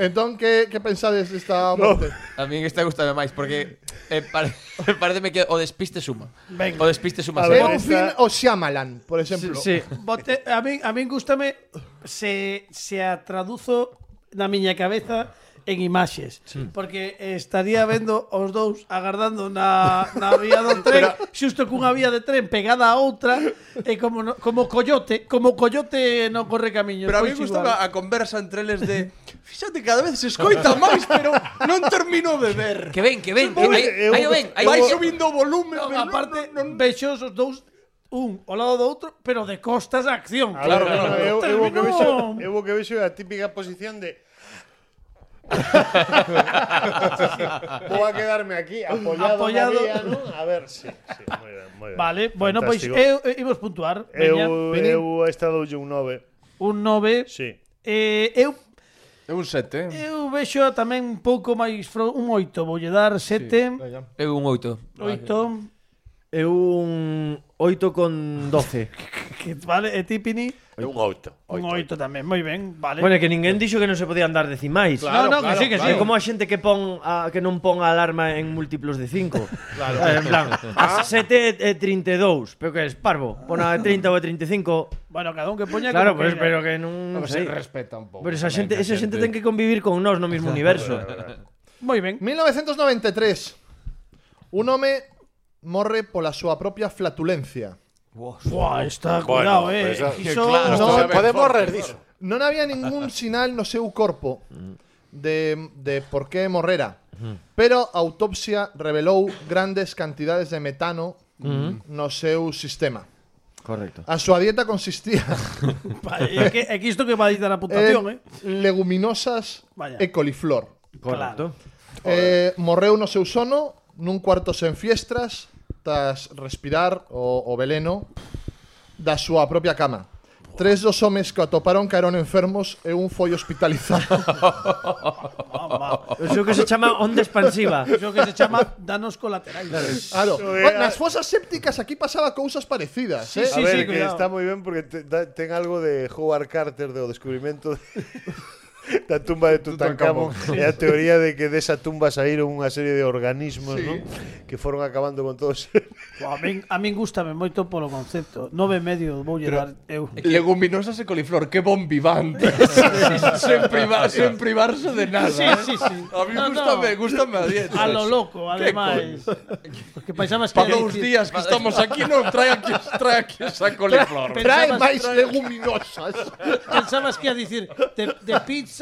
Entón, que, que pensades desta morte?
A min esta gustame máis porque eh, pare, pareceme que o despiste suma.
Venga.
O despiste suma.
A
É
ver,
un
esta-
fin o Shyamalan, por exemplo.
Sí.
Bote, a min a min gústame se se a traduzo na miña cabeza en imaxes, sí. porque estaría vendo os dous agardando na, na vía do tren, xusto cunha vía de tren pegada a outra, e como no, como coyote, como coyote non corre camiño.
Pero a mí
pois
gusta
igual.
a conversa entre eles de Fíxate, cada vez se escoita máis, pero non termino de ver.
Que ven, que ven, que
Pobre,
aí,
eu-
aí o ven, aí o
Vai
ven.
subindo o volumen,
Non,
pero
aparte, vexos os dous un ao lado do outro, pero de costas a acción.
A ver, no, eu, eu, o que vexo,
Terminou.
eu o que vexo é a típica posición de Vou a quedarme aquí apoyado,
Apoyado.
apoyado. María, ¿no? A ver, sí, sí, moi ben, moi ben.
Vale, bueno, pois
Fantástico.
eu, eu imos puntuar. veña.
eu,
veña.
eu he estado un 9.
un 9.
Sí.
Eh, eu
É un sete, eh?
Eu vexo tamén un pouco máis fro- un 8, voulle dar 7,
Eu un oito.
8.
É un 8 Eh, con 12.
que vale, e Tipini,
É un oito.
un oito tamén, moi ben, vale.
Bueno, é que ninguén dixo que non se podían dar decimais.
no, no, que sí, que sí.
É como a xente que pon a, que non pon a alarma en múltiplos de 5. Claro. En plan, a 7 e 32, pero que es parvo. Pon a 30 ou a 35.
Bueno, cada un que poña
Claro,
como
pues, pero
queira.
que non,
No,
non
se
sei.
respeta un pouco.
Pero esa
tamén,
xente,
a
esa xente ten que convivir con nós no mismo universo.
moi ben.
1993. Un home morre pola súa propia flatulencia.
Buah, está
Bueno,
cuidado, eh.
pues, ah,
Iso-
claro,
No,
No, podemos rendirse.
Non había ningún sinal no seu corpo de, de por que morrera. Pero a autopsia revelou grandes cantidades de metano no seu sistema.
Correcto.
A súa dieta consistía
Pa- É que, é que isto que vai dar a puntuación, eh.
en leguminosas
Vaya.
e coliflor.
Correcto.
Eh, morreu no seu sono nun cuarto sen fiestras tras respirar o, o veleno da súa propia cama. Tres dos homes que o atoparon caeron enfermos e un foi hospitalizado.
Mamá.
Eso que se chama onda expansiva.
Iso que se chama danos colaterais.
claro.
eh,
Oh, nas fosas sépticas aquí pasaba cousas parecidas,
Sí,
eh?
A
sí,
ver,
sí,
que
cuidado.
está moi ben porque te- da- ten algo de Howard Carter do descubrimento de- da tumba de Tutankamón e a teoría de que desa tumba saíron unha serie de organismos non? que foron acabando con todos
Buah, a min, a min gustame moito polo concepto. Nove e medio voulle dar eu.
Leguminosas e coliflor, que bombivantes. sen, priva, sen privarse de nada.
Sí,
eh.
sí, sí.
A mí
No,
gustame,
no.
gustame a dieta.
A lo loco,
Que
ademais. Que pensabas que
Para
ia
dous
dicir-
días que estamos aquí non trae aquí, trae aquí esa coliflor.
Trae
Pensabas-
máis leguminosas.
Pensabas que ia dicir de, de pizzas,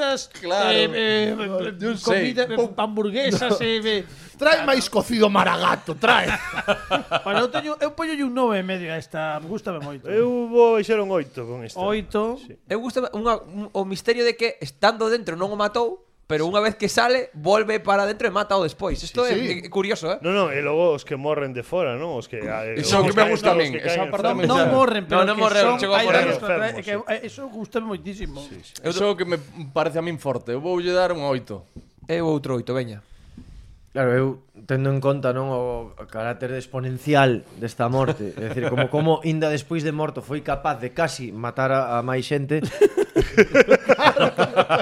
Claro.
eh, eh, eh,
Yo sei.
comida, eh, hamburguesas, eh, eh.
Trae máis cocido maragato, trae.
Bueno, eu teño eu poño un nove e medio a esta, gustame moito.
eu vou eixar un oito con isto
Oito.
Eu gusta unha, un, o misterio de que estando dentro non o matou, pero unha vez que sale, volve para dentro e mata o despois. Isto
Sí, sí.
é, é curioso, eh?
Non, non, e logo os que morren de fora, non? Os que eh,
Iso
os
que me
caen-
gusta a
os
min,
que
esa
caen
parte
enfermos.
me-
Non
Claro.
morren, pero
No, non
que
morren,
son,
chegou a
hai
morrer.
danos contra-
Enfermos,
que eh, Eso gustame moitísimo.
Eso é o que me parece a min forte. Eu voulle dar un 8.
É o outro oito, veña.
Claro, eu tendo en conta non o carácter exponencial desta morte, é dicir, como como inda despois de morto foi capaz de casi matar a, a máis xente.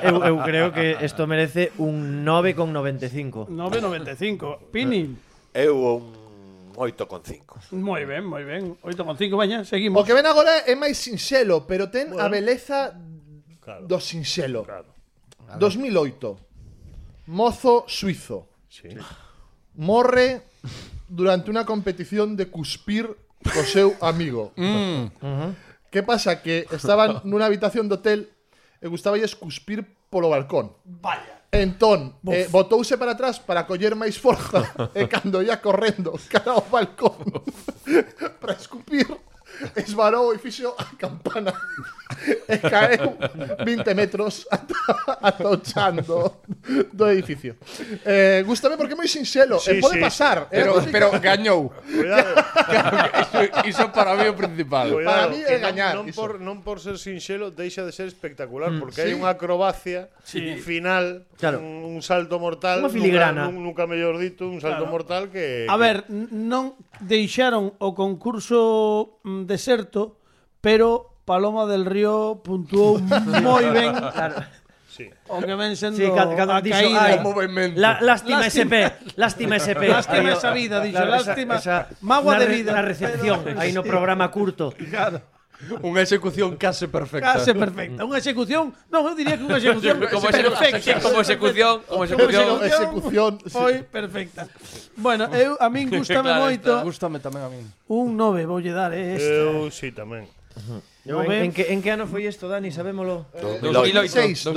eu, eu creo que isto merece un 9,95.
9.95. Pini.
Eu un oito con cinco.
Moi ben, moi ben. 8,5, veña, seguimos.
O que ven agora é máis sinxelo, pero ten a beleza
Claro.
do sinxelo.
Claro.
2008. Mozo suizo.
Sí.
Morre durante unha competición de cuspir co seu amigo.
Mm.
Que pasa que estaban nunha habitación de hotel e gustaballes cuspir polo balcón.
Vaya.
Entón, eh, botouse para atrás para coller máis forza e cando ia correndo cara ao balcón para escupir esvarou e fixo a campana e caeu 20 metros ata, ata o chan do, do edificio. Eh, gústame porque é moi sinxelo. e
Sí,
pode
sí.
pasar. eh,
Pero,
porque
pero gañou.
Cuidado,
Iso, iso para mí é o principal.
cuidado.
Para mí é
que
gañar,
Non, non,
iso.
por, non por ser sinxelo deixa de ser espectacular porque hai unha acrobacia
Sí.
final,
Claro.
un, un salto mortal,
Unha filigrana.
Nunca, nun- nunca mellor dito, un salto
Claro.
mortal que
A ver, n- non deixaron o concurso mm, deserto, pero Paloma del Río puntuou moi ben. Claro.
Sí.
O que ven sendo
Sí, cada, cada
a caída.
ai,
O movemento.
La, lástima,
Lástima.
SP, lástima SP.
Lástima
Aí,
esa vida, dixo,
esa-
lástima,
esa-
magua
na
de
re-
vida.
Na recepción,
Pero-
aí no programa curto.
Claro.
Unha execución case perfecta.
Case perfecta. Unha execución, non, eu diría que unha execución
Como, exe-
perfecta.
como execución, como execución.
Execución, sí.
Foi perfecta. Bueno, eu a min gustame
Claro,
moito.
está.
Gústame tamén a min.
Un 9 voulle dar, eh. esta.
Eu sí tamén.
No,
Nove.
en, en, que, en que ano foi isto, Dani? Sabémolo.
Eh,
2006,
2006.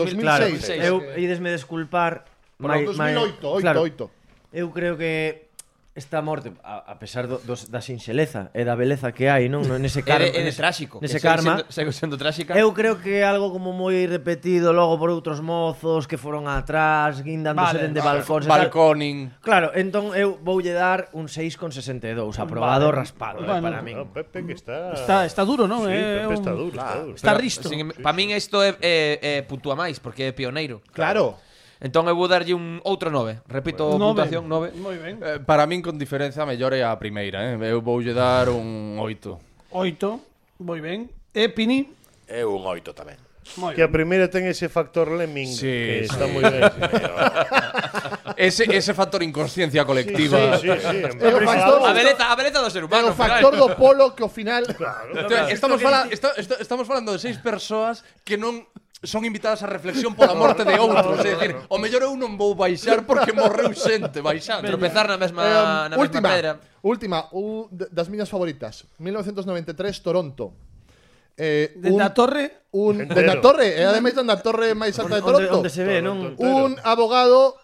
2006.
Claro.
Eu idesme desculpar
Bueno, 2008, 8,
claro,
8.
Eu creo que esta morte, a, a pesar do, dos, da sinxeleza e da beleza que hai, non? No, nese
É
karma,
de, é de
nese-
tráxico.
Nese
Que sigue
karma.
sendo- Sigue sendo tráxica.
Eu creo que é algo como moi repetido logo por outros mozos que foron atrás, guindándose
Vale,
vale, dende balcóns e tal.
Balconing.
Claro, entón eu voulle dar un 6,62, aprobado raspado, eh,
Bueno.
para min.
No, Ah, Pepe que está
Está, está duro, non?
Sí,
É
Pepe está
un-
duro, está duro.
Está risto.
Para min isto é, é, é eh, puntúa máis, porque é pioneiro.
Claro.
Entón eu vou darlle un outro 9. Repito a
Nove.
puntuación, 9.
Moi ben.
Eh, para min con diferenza mellor é a primeira, eh. Eu voulle dar un 8.
8. Moi ben. E Pini?
É un oito tamén.
Moi
Que a
ben.
primeira ten ese factor lemming
Sí,
que
sí.
está moi ben.
Ese, ese factor inconsciencia colectiva.
Sí, sí, sí. en
É o
verdade.
factor,
A beleza, a beleza do ser
é
humano.
o factor do polo que ao final
Te- Estamos, fala, esta- esta- estamos falando de seis persoas que non son invitadas a reflexión pola morte de outros, é dicir, o mellor eu non vou baixar porque morreu xente baixando.
Tropezar na mesma,
Eh,
na mesma
última,
pedra.
última, u- de- das miñas favoritas. 1993, Toronto. Eh,
Dende a torre,
un,
Entero.
dende a torre, é ademais dende a torre máis alta de
Onde,
Toronto.
onde se ve, non?
Un abogado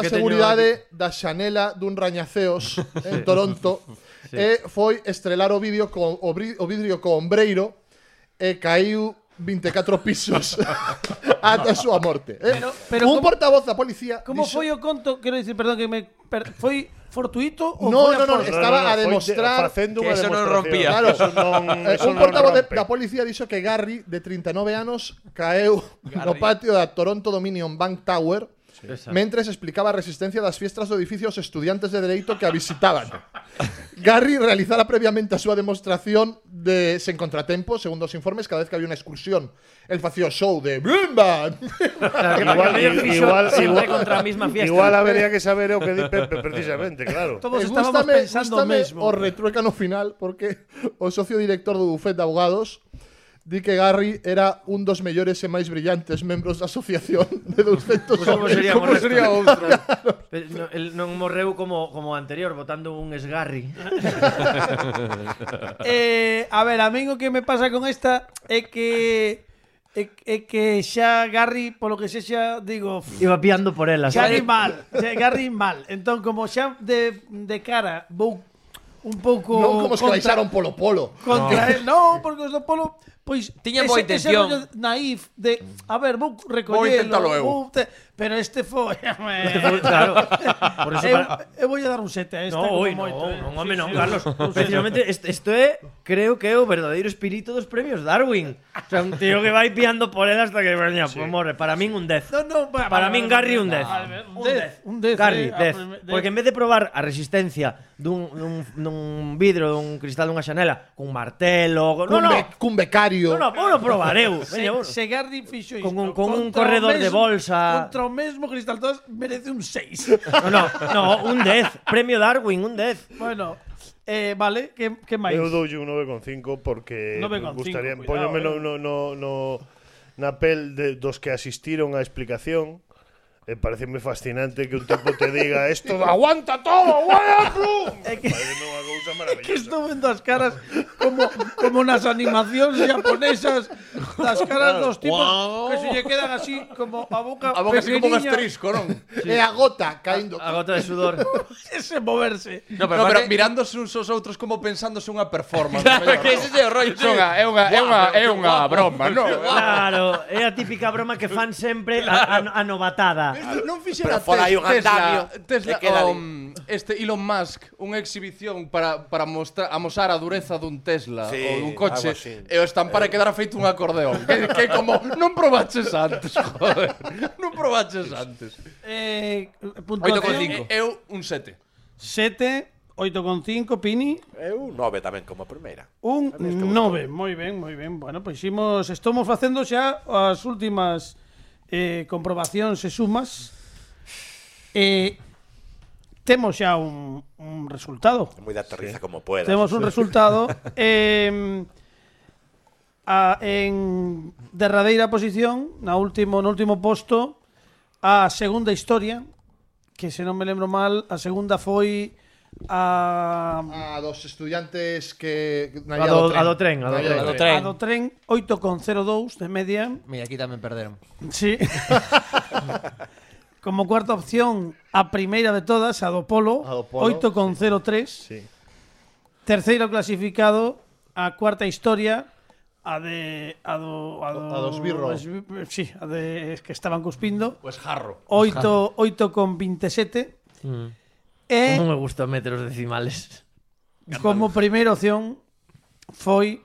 O
a
que teño
seguridade da xanela dun rañaceos en Toronto e foi estrelar o vídeo con o, bri- o vidrio co ombreiro e caiu 24 pisos ata a súa morte. eh.
Pero- pero
un
como-
portavoz da policía
como
dixo-
foi o conto? Quero dicir, perdón, que me... Per... Foi fortuito ou
No,
foi a
no, no,
posta?
estaba a
foi de-
demostrar
facendo
que
unha
eso non
demostración.
rompía.
Claro,
Claro.
eso non,
Eh,
eso
un
non
portavoz de-
rompe.
da policía dixo que Garry, de 39 anos, caeu no patio da Toronto Dominion Bank Tower mentres explicaba a resistencia das fiestas do edificio aos estudiantes de dereito que a visitaban. Garry realizara previamente a súa demostración de sen contratempo, segundo os informes, cada vez que había unha excursión. El facía o show de Brimba.
Igual, igual, igual,
contra a mesma fiesta.
igual habería que saber o que di Pepe precisamente, claro.
Todos
E
estábamos
Eh, gústame-
pensando o
gústame
mesmo.
o retruécano final porque o socio director do bufet de abogados di que Garry era un dos mellores e máis brillantes membros da asociación de 200
Como sería
como
correcto.
sería outro.
Pero no, el non morreu como como o anterior botando un esgarri.
Eh, a ver, a min o que me pasa con esta é que é, é que xa Garry, polo que sexa, digo, f-
Iba piando por ela,
Garry
sabe?
mal, xa Garry mal. Entón, como xa de, de cara vou un pouco
non como os que
contra-
baixaron polo polo.
Contra él, no, porque os do Polo pois
Tiñan boa intención.
rollo naif de, a ver, vou recollelo.
Vou intentalo eu.
vou te- pero este foi,
Foi, Claro. Por eso
eu,
para...
eu voulle dar un 7 eh, a esta
No,
como
oi, non,
moito, eh.
non, home, non, Carlos. Precisamente, est- isto é, creo que é o verdadeiro espírito dos premios Darwin. O sea, un tío que vai piando por ela hasta que, veña, pues morre. Para min un 10.
No, no, va-
Para
vale,
min
vale,
Garry un 10.
vale, vale, Un
Un ah,
10,
10.
un 10.
Garry,
eh, a
10.
primer-
Porque en vez de probar a resistencia dun, dun, dun vidro, dun cristal, dunha xanela, cun martelo... Con... No,
Cun,
no,
be- cun becario.
no, no, vou no probar eu.
Se,
Veña, vou.
se Garry fixo isto
Con un- con un
contra o
corredor de
mesmo-
bolsa.
Contra o mesmo Cristal Todas merece un 6
No, no, no, un 10. Premio Darwin, un 10.
Bueno, eh, vale, que, que máis?
Eu doulle un 9,5 porque
9,5,
me gustaría
cuidado,
póñome
eh.
no, no, no, no na pel de, dos que asistiron á explicación. E pareceme fascinante que un tipo te diga isto aguanta todo, aguanta plum.
É que-
Pareceme unha cousa
que
maravillosa.
estou vendo as caras como como nas animacións japonesas das caras dos tipos que
Guau.
se lle quedan así como a boca
A boca así como un
pequeniña,
asterisco, non?
E a gota caindo.
A gota de sudor.
ese moverse
No, pero, no, pero mirándose uns aos outros como pensándose unha performance.
Claro, que ese é o rollo.
É unha, é unha, é unha, é unha broma, non?
Claro, é a típica broma que fan sempre a, a, a novatada.
Pero
Non fixera
fora hai un andamio,
Tesla,
e
Tesla
queda ali.
um, este Elon Musk unha exhibición para, para mostra, amosar a dureza dun Tesla
Sí,
ou dun
algo
coche
así. Eh.
e o estampar e quedara feito un acordeón que, que como non probaches antes joder, non probaches antes
eh,
8,5
puntuación
eu un 7
7 8,5 Pini
É un nove tamén como a primeira.
Un 9, moi ben, moi ben. Bueno, pois imos, estamos facendo xa as últimas eh, comprobacións e sumas. Eh, temos xa un, un resultado.
É moi da aterriza como puedas.
Temos un resultado. Eh, a, en derradeira posición, na último, no último posto, a segunda historia, que se non me lembro mal, a segunda foi a...
A dos estudiantes que... na
A
vía
do, a do tren, a do
Na vía
tren.
A do
Do tren.
tren 8,02 de media.
Mira, aquí tamén perderon.
Sí. Como cuarta opción, a primeira de todas, a do Polo,
A do Polo,
8,03.
Sí.
Terceiro clasificado, a cuarta historia, a de a do a do,
A do esbirro.
esbi- Sí, a de que estaban cuspindo,
o
Pues
esjarro
Pues
8 8,27.
Mm.
E
Non me gusta meter os decimales.
como primeira opción foi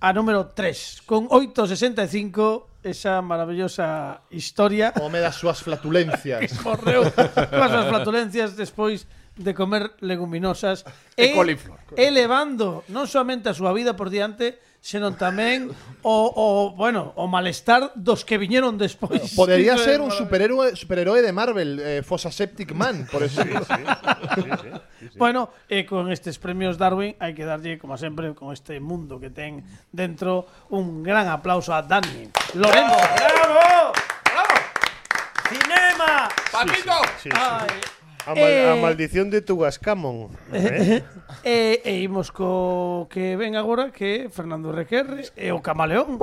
a número 3, con 8,65 esa maravillosa historia
Home das súas flatulencias.
morreu coas súas flatulencias despois de comer leguminosas
E coliflor.
elevando non soamente a súa vida por diante, senón tamén o, o bueno, o malestar dos que viñeron despois.
Podría
Iso é
ser un
maravilloso.
superhéroe, superhéroe de Marvel, eh, Fosa Septic Man, por eso.
Bueno, e con estes premios Darwin hai que darlle, como sempre, con este mundo que ten dentro, un gran aplauso a Dani Lorenzo. ¡Bravo! ¡Bravo! ¡Cinema!
¡Paquito!
Sí, sí.
Ai,
A, mal-
Eh.
a maldición de Tugascamon. ¿eh?
e, e imos co que ven agora que é Fernando Requerre e o Camaleón.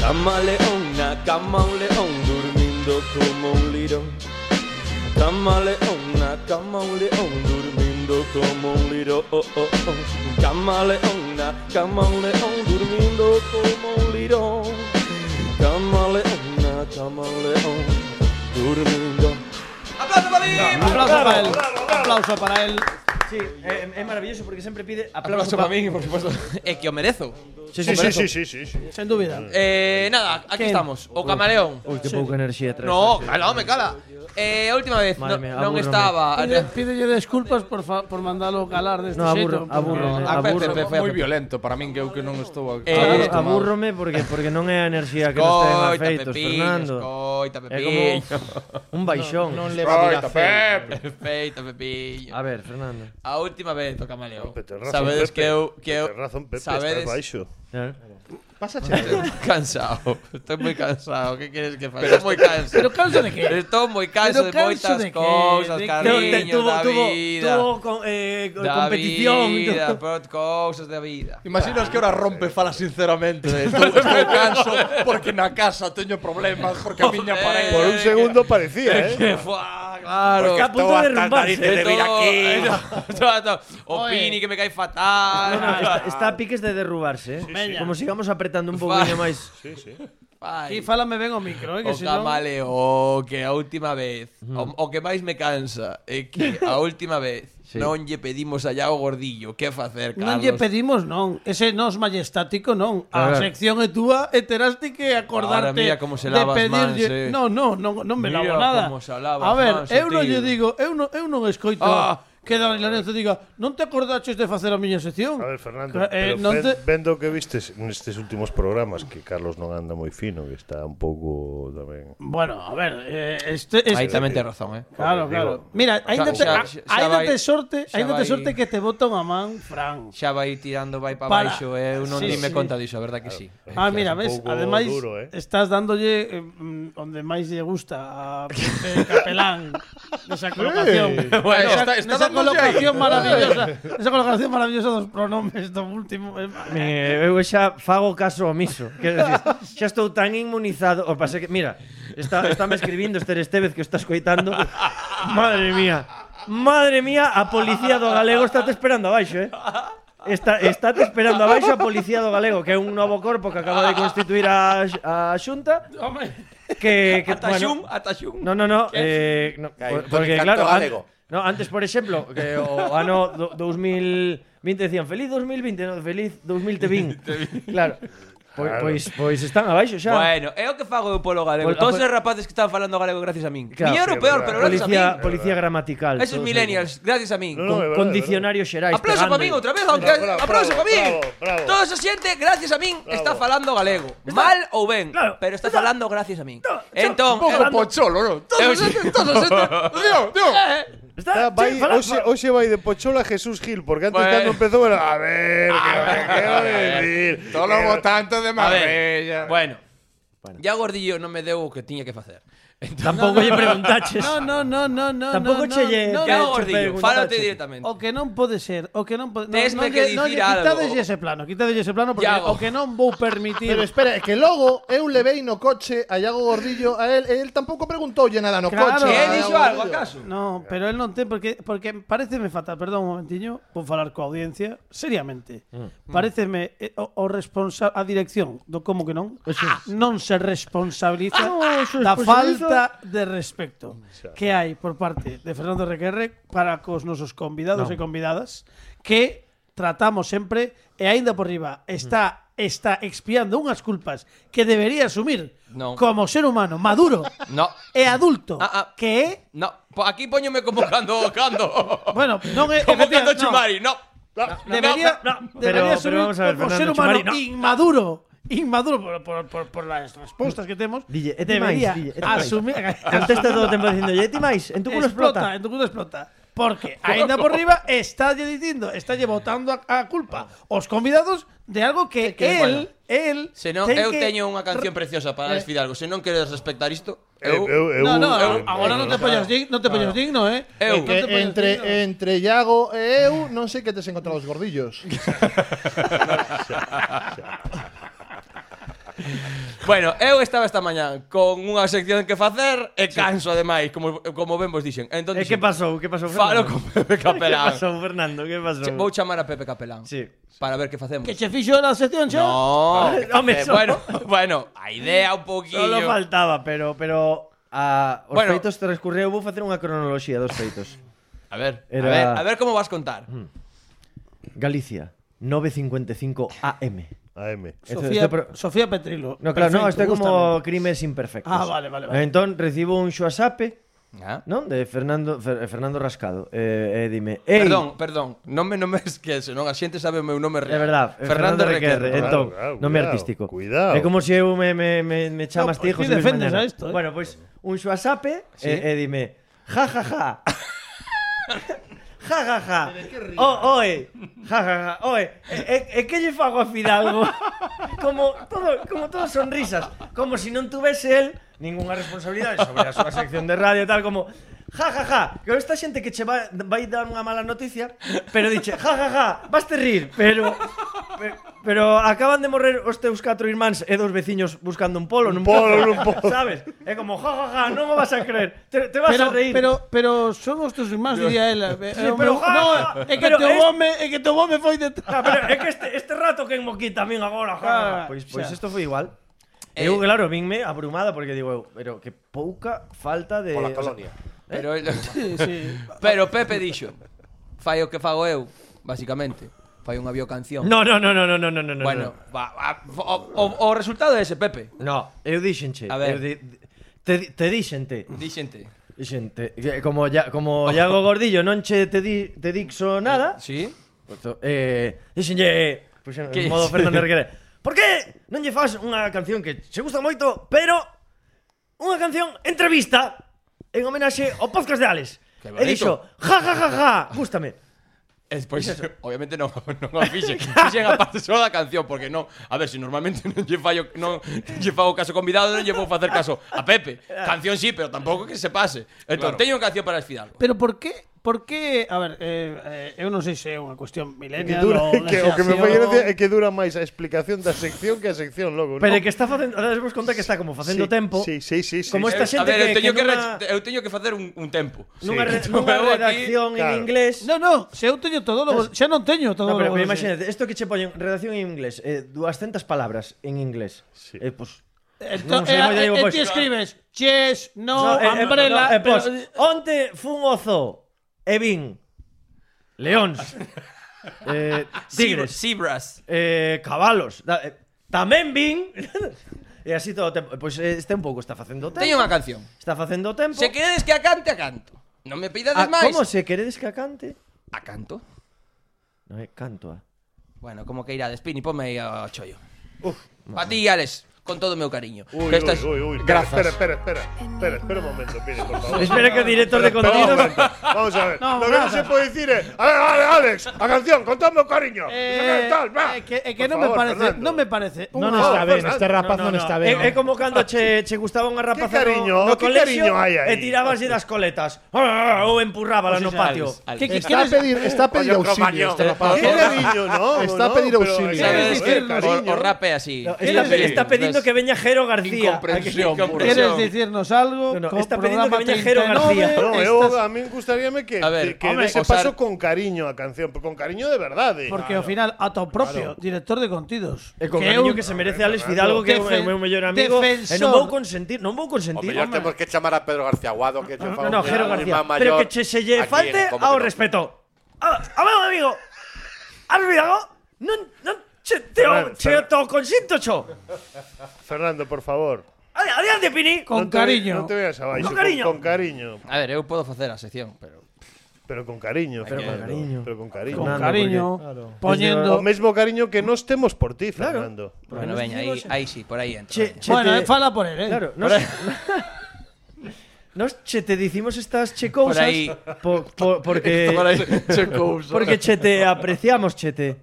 Camaleona, camaleón, durmiendo como un lirón. Camaleona, camaleón, durmiendo como un lirón. Camaleona, camaleón, durmiendo como un lirón. Camaleona, camaleón, durmiendo.
¡Aplauso para ti!
Aplauso para él. Aplauso para él.
Sí, é, é maravilloso porque sempre pide
Aplauso para mí, por supuesto. Es que os merezo.
Sí, sí, sí, sí, sí, sí.
Sen dúbida.
Eh, nada, aquí
¿Quién?
estamos. O camaleón.
Ui, que pouca enerxía traes.
No, calado, me cala. Eh, última vez,
Madre
no,
mía,
non
abúrrome.
estaba.
Pide, pídelle desculpas por, fa, por mandalo calar deste
No, aburro,
xeito.
aburro,
porque-
Ah,
aburro.
Pepe, Pepe,
Muy
Pepe.
violento para min que eu que non estou aquí.
Eh,
Abur-
Escoita,
Abúrrome porque porque non é a enerxía que nos ten
Coita,
afeitos, Fernando.
Coita,
É como
Pepiño.
un baixón.
Non leva viracema.
Perfeito, Pepiño.
A ver, Fernando.
A última vez toca Camaleón.
Pero tes razón,
Sabedes
Pepe.
que eu... Que eu
Tes razón, Pepe,
sabedes-
estás baixo.
Pasa, che.
cansado. Estoy muy cansado. ¿Qué quieres que faça? Estoy muy cansado.
Pero causa de que?
Estou moi
Pero
canso de
canso
moitas
de que-
cousas,
de que-
cariño, da vida.
tuvo con, eh,
da vida, pro- cousas da vida.
Imaginas que ahora rompe fala sinceramente de esto. Estou canso porque na casa teño problemas porque a miña parei.
Por un segundo parecía, ¿eh?
Que fuá, Eh, claro.
Pues
a punto de derrumbarse.
de vir aquí. O
Oye.
Pini que me cae fatal.
No, no, está, está a piques de derrubarse. eh.
sí.
Como sigamos apretando un pouquinho máis.
Aquí
Ai,
fálame ben o micro, eh, que
O
si non...
camaleón, que a última vez, o, o que máis me cansa, é que a última vez
Sí.
non lle pedimos a Iago Gordillo que facer, Carlos.
Non lle pedimos non, ese nos majestático non. A
Claro.
sección é túa e terás ti que acordarte
Ahora mira como se
de
lavas
pedirlle.
mans, eh.
No, no, non, non me
Mira
lavo nada.
como se lavas
a ver,
mans,
eu non
tío.
lle digo, eu non, eu non escoito
Ah.
que Dani Lorenzo diga, non te acordaches de facer a miña sección?
A ver, Fernando,
Eh,
pero
non
ven-
te...
vendo que vistes nestes últimos programas que Carlos non anda moi fino, que está un pouco tamén...
Bueno, a ver, eh, este, este...
Aí tamén ten razón, eh.
Claro, claro.
Digo,
Mira, ainda te,
xa-
a-
xa
ainda
vai-
te sorte,
xa
ainda te
vai-
sorte que te bota unha man, Fran.
Xa vai tirando, vai pa
Para.
baixo, eh. eu non
Sí,
sí,
sí.
dime conta diso, a verdad que sí.
Ah, mira,
un
ves,
pouco
ademais
duro, eh.
estás dándolle eh, mm, onde máis lle gusta a Pepe Capelán nesa colocación.
Bueno,
Esa-
está- está
nesa
dándolle aí.
colocación maravillosa, esa colocación maravillosa dos pronomes do último. eh,
Me, eu xa fago caso omiso. Quero dicir, xa estou tan inmunizado. O pasa que, mira, está, está me escribindo Esther Estevez que o está escoitando. Madre mía. Madre mía, a policía do galego está te esperando abaixo, eh? Está, está te esperando abaixo a policía do galego Que é un novo corpo que acaba de constituir a, a xunta
Home,
que, que
Ata xun, ata xun.
No, no, no. Eh, no
Cae,
por-
Toni
porque,
Cantó
claro, an-
galego.
no, antes, por exemplo, que o ano do- 2020 decían feliz 2020, no, feliz 2020. claro. Pois,
Claro.
pois, pois están abaixo xa.
Bueno, é o que fago eu polo galego.
Pol-
Todos
a pol-
os rapaces que están falando galego gracias a min.
Claro,
Claro, Miñero
sí,
peor,
verdad.
pero gracias
policía,
a min.
policía gramatical.
Esos
todos
millennials, gracias a min.
No,
Con,
no, é verdad,
con
é
diccionario xerais.
Aplauso para
pegando.
min outra vez, aunque
Bravo, bravo,
aplauso para min.
bravo, bravo.
Toda esa xente, gracias a min, está falando galego. Mal ou ben,
Claro.
pero está falando gracias a min.
Un
entón,
pouco pocholo, non? Todos
Eu-
os xente, todos os xente. Digo, digo.
Está,
sí,
Ah, vai,
fala-
hoxe, hoxe vai de Pochola a Jesús Gil, porque antes
Pues,
Bueno.
cando empezou era... A ver, que, que va a decir?
Todos los votantes de
a ver,
Marbella.
bueno. Ya Gordillo non me deu o que tiña que facer.
Tampouco lle preguntaches.
No, no, no, no, no.
Tampouco
no,
che lle-
no,
que
Ya
no,
hago
os digo,
preguntas,
fálate
che.
directamente.
O que non pode ser, o que non pode... No, non,
Tesme que
lle- non, lle-
dicir algo.
Quitadelle ese plano, quitadelle ese plano, porque
Iago.
o que non vou permitir...
Pero espera, é que logo eu levei no coche a Iago Gordillo a él, e él tampouco preguntoulle nada no
Claro. Que
coche. a
¿Qué
él
Iago
dicho algo
Gordillo.
acaso?
No, pero él non ten porque porque pareceme fatal, perdón un momentiño, vou falar coa audiencia seriamente.
Mm.
Pareceme eh, o, o responsa a dirección do como que non ah, non se
Ah,
responsabiliza da falta de
Mm,
respecto que hai por parte de Fernando Requerre para cos nosos convidados e convidadas que tratamos sempre e aínda por riba está
Mm.
está expiando unhas culpas que debería asumir
Non.
como ser humano maduro
No.
e adulto
Ah, ah.
que é
No, po- aquí poñome como cando cando.
Bueno, non é
como
efectiva-
cando
no.
Chumari, no.
Debería,
no, no,
debería
pero-
ser
pero
un-
vamos a ver,
como ser
Fernando
humano
Chumari, no.
inmaduro, inmaduro por, por, por, por las respuestas que temos,
Dille, e ti
debería
máis, dille, e ti máis.
asumir
Contesta todo o tempo dicindo, "Lle ti máis, en tu culo explota."
en tu culo explota. Porque ainda por riba estálle dicindo, estálle botando a, a culpa os convidados de algo que,
que,
él, él
Se non,
ten
eu
que-
teño unha canción preciosa para Alex Fidalgo. Se non queres respectar isto, eu...
No, no,
eu-
agora non te poñas digno, non te poñas digno, eh. Non
Eu.
te poñas
Que
digno.
entre, entre Iago e eu non sei que tes encontrado os gordillos.
Bueno, eu estaba esta mañá con unha sección que facer e canso ademais, como, como ben vos dixen. Entón,
E que pasou? Que pasou,
Falo
Fernando?
con Pepe
Que
Capelán.
pasou, Fernando? Que pasou?
Che, Vou chamar a Pepe Capelán
Sí.
para ver que facemos.
Que che fixo na sección xa?
No,
Home,
Eh,
só-
bueno, bueno, a idea un poquillo.
Solo faltaba, pero pero a os
Bueno.
feitos transcurreu, vou facer unha cronoloxía dos feitos.
A ver, a
Era- Mm.
ver, a ver como vas contar.
Galicia, e 9:55 AM.
AM.
Sofía,
Este pro-
Sofía Petrilo.
No, claro, no,
Perfecto,
isto é como
gústame.
crimes imperfectos.
Ah, vale, vale, vale.
Entón recibo un xoasape,
Ah.
non? De Fernando Fer- Fernando Rascado. Eh, eh dime, "Ei,
Perdón, perdón, non me non me esquece, non a xente sabe o meu nome
É
real.
verdad, eh, Fernando, Fernando Requerre,
Requerre.
entón,
Claro, claro,
nome
cuidado,
artístico.
cuidao.
É como se eu me, me, me, me chamas
No,
ti,
pois ti
José Luis
defendes
Mañana.
a esto, eh.
Bueno, pois un xoasape
Sí.
e, e dime, ja ja ja. ja ja ja. O, oe, ja ja ja, eh, oe. E, e, e que lle fago a Fidalgo? como todo, como todas sonrisas, como si non tuvese el ningunha responsabilidade sobre a súa sección de radio e tal como Ja, ja, ja, que esta xente que che vai, vai dar unha mala noticia Pero diche, ja, ja, ja, vas te rir Pero, pero, pero acaban de morrer os teus catro irmáns e dos veciños buscando un polo Un
polo, nun pozo.
Sabes? É como, ja, ja, ja, non o vas a creer Te, te vas
Pero,
a reír
pero, pero son os teus irmáns, diría ela. Eh,
Sí,
o
pero
meu-
ja,
no, é
ja,
que
pero
teu
es-
home, é que teu home foi
Ah,
detrás.
pero é que este, este rato que en Moquita a min agora,
Ah,
ja, pois
xa.
pois isto foi pues igual.
Eh,
eu, claro, vinme abrumada porque digo, eu, pero que pouca falta de
Pola
o sea,
colonia.
Eh,
Pero
Sí, sí.
pero Pepe dixo, fai o que fago eu, basicamente. Fai unha biocanción.
No, no, no, no, no, no, no, no.
bueno, va, va, o, o, o resultado é ese, Pepe.
no. No, eu dixenche.
A ver.
Eu di, te, te dixente.
Dixente.
Dixente. que Como, ya, como Iago Gordillo non che te, di, te dixo nada,
Sí?
Pois, eh, dixenlle, pois,
Que-
en modo Fernando Requere. Por que non lle fas unha canción que se gusta moito, pero unha canción entrevista en homenaxe ao podcast de Alex?
Que
E
bonito.
dixo, ja, ja, ja, ja, gústame.
E Despois, obviamente non, non a fixen Fixen a parte só da canción Porque non, a ver, se normalmente non lle, fallo, non, non lle fago caso convidado Non lle vou facer caso a Pepe Canción sí, pero tampouco que se pase Entón, teño unha canción para esfidarlo
Pero por qué? Por qué, a ver, eh, eh, eu non sei se é unha cuestión
Que
milenial
dura,
ou
que, o que
xeración.
me fai gracia é que dura máis a explicación da sección que a sección logo.
Pero
non?
que está facendo, ahora vos conta que está como facendo
Sí,
tempo.
Sí, sí, sí, sí.
Como
sí.
esta
Eh, A
xente
ver, eu
que-
teño
que
que,
nunha-
re- eu teño que facer un, un tempo
Nunha, re,
Entón,
nunha
eu aquí-
redacción en
claro.
inglés.
No, no, se eu teño todo logo, xa non teño todo
No, pero
logo.
imagínate, isto que che poñen redacción en inglés, eh, 200 palabras en inglés.
Sí.
Eh, pues,
Ento,
Non sei, moi
eh,
digo,
eh,
pois.
ti escribes, yes, no,
No, eh, eh,
umbrella,
no, eh,
pero-
pos, onte fun o zoo e vin leóns, eh, tigres,
Zebras
eh, cabalos. da- eh, tamén vin... e así todo o tempo. E, Pois eh, este un pouco está facendo o tempo.
Teño unha canción
Está facendo o tempo.
Se queredes que a cante, a canto Non
Ah,
me pidades máis
Como se queredes que a cante?
A canto
Non é canto, ah.
Bueno, como que irades Pini, ponme aí o chollo Pa ti, Alex con todo o meu cariño.
Ui,
que estas
ui, ui, ui.
grazas.
Espera, espera, espera. Espera, espera un momento, Pini, por favor.
Espera que el director de
Espera un
contenidos.
momento. Vamos a ver.
No,
Lo que no
nada.
se puede decir es. A ver, vale, Alex, a canción, contadme un cariño.
Eh,
Tal, va.
eh, que, eh,
Por
que no me
favor,
parece,
Fernando.
no me parece.
No,
No,
no,
no está ben,
Fernando.
este rapaz
No,
non
no. Eh,
está ben.
É,
eh.
é Eh, como cando che, che gustaba unha rapaza
Que cariño,
no, no
que
colexio
cariño hai aí.
e tirábanse das coletas ou empurrábala no patio.
¿Qué, qué
Está a
quieres,
pedir, está a pedir
Coño,
auxilio este rapaz.
Qué cariño, no.
Está a
no,
pedir
pero
auxilio.
es
¿Sabes
que-
qué?
eh, cariño.
O rape así.
Está,
Sí,
está pedindo que veña Jero García.
Incomprensión pura.
¿Quieres decirnos algo?
No, no,
Con
está pidiendo
programa
que venga Jero
39,
García.
No,
estás-
eu, eh, a mí me gustaría que,
A ver,
que- que
hombre,
dese
o sea-
paso con cariño a canción, pero con cariño de verdad. eh.
Porque ao final, a tu propio director de contidos.
E con
que
cariño
eu-
que se merece Alex Fidalgo, que é o meu-
Defen-
meu mellor amigo. E non
defensor.
vou consentir, non vou
O
consentir.
mellor temos que chamar a Pedro García Guado que che fa
No, no,
un-
Jero
un
García.
imán
Pero
maior
que che se lle
aquí en
falte
Como
ao
que no.
respeto. A, a meu amigo, Alex Fidalgo, non, non che te,
Ferran,
che
Ferran.
to consinto, cho.
Fernando, por favor.
Ade- Adiante, Pini.
Con
No te-
cariño.
No te veas abaixo.
Con cariño.
Con, con cariño.
A ver, eu podo facer a sección, pero
Pero con cariño, pero Fernando.
cariño.
Pero con cariño.
Con
Fernando, Este,
cariño,
O
poniendo.
mismo cariño que nos temos por ti, Fernando.
bueno, veña, aí, aí sí, por aí entro.
Che, che
Bueno,
te-
eh, fala por él, eh.
Claro, nos, nos che te dicimos estas che cousas
Por aí.
po- po- porque porque che te apreciamos, che te.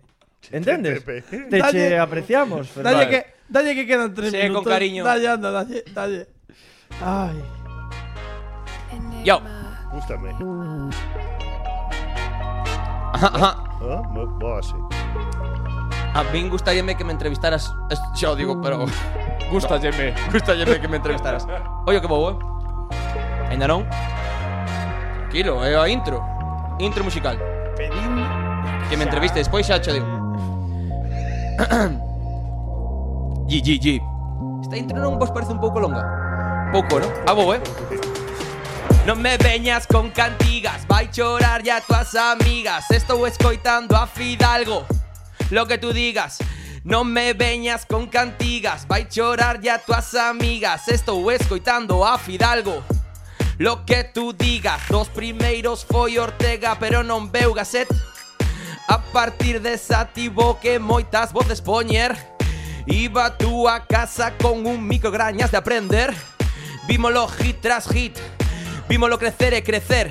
Entendes?
Pepe.
Te che
Dalle-
apreciamos, Ferran.
Dalle que, dalle que quedan tres
Sí, con
minutos.
cariño.
Dalle, anda, dalle, dalle. Ay.
Yo.
Gústame.
A
Ah, bo- Boa, sí.
min gustaríame que me entrevistaras. Es- Xa o digo, pero gustaríame, gustaríame que me entrevistaras. Oye, que bobo, eh? Ainda non? Tranquilo, é a intro. Intro musical. Que me entreviste despois xa che digo. Gi, gi, gi. Esta intro non vos parece un pouco longa? Pouco, non? A bobo, eh? Non me veñas con cantigas Vai chorar ya tuas amigas Estou escoitando a Fidalgo Lo que tú digas Non me veñas con cantigas Vai chorar ya tuas amigas Estou escoitando a Fidalgo Lo que tú digas Dos primeiros foi Ortega Pero non veu Gasset A partir desa tivo que moitas voces poñer Iba tú a casa con un micro grañas de aprender Vímolo hit tras hit Vímolo crecer e crecer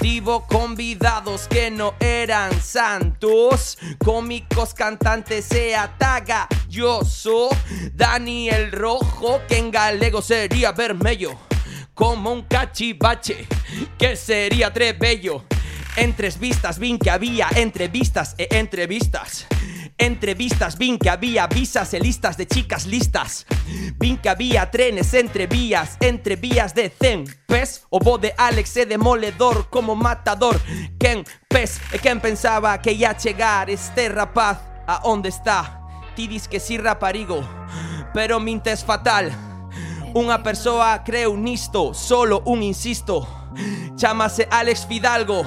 Tivo convidados que no eran santos Cómicos, cantantes e ataga Yo so Daniel Rojo Que en galego sería vermello Como un cachivache Que sería trebello Entrevistas, vin que había entrevistas e entrevistas. Entrevistas, vin que había visas e listas de chicas listas. Vin que había trenes entre vías, entre vías de Zen, Pes. O bo de Alex e demoledor como matador. Ken Pes, e quen pensaba que ia chegar este rapaz a onde está. Ti dis que si raparigo, pero mintes fatal. Unha persoa creu nisto, solo un insisto Chámase Alex Fidalgo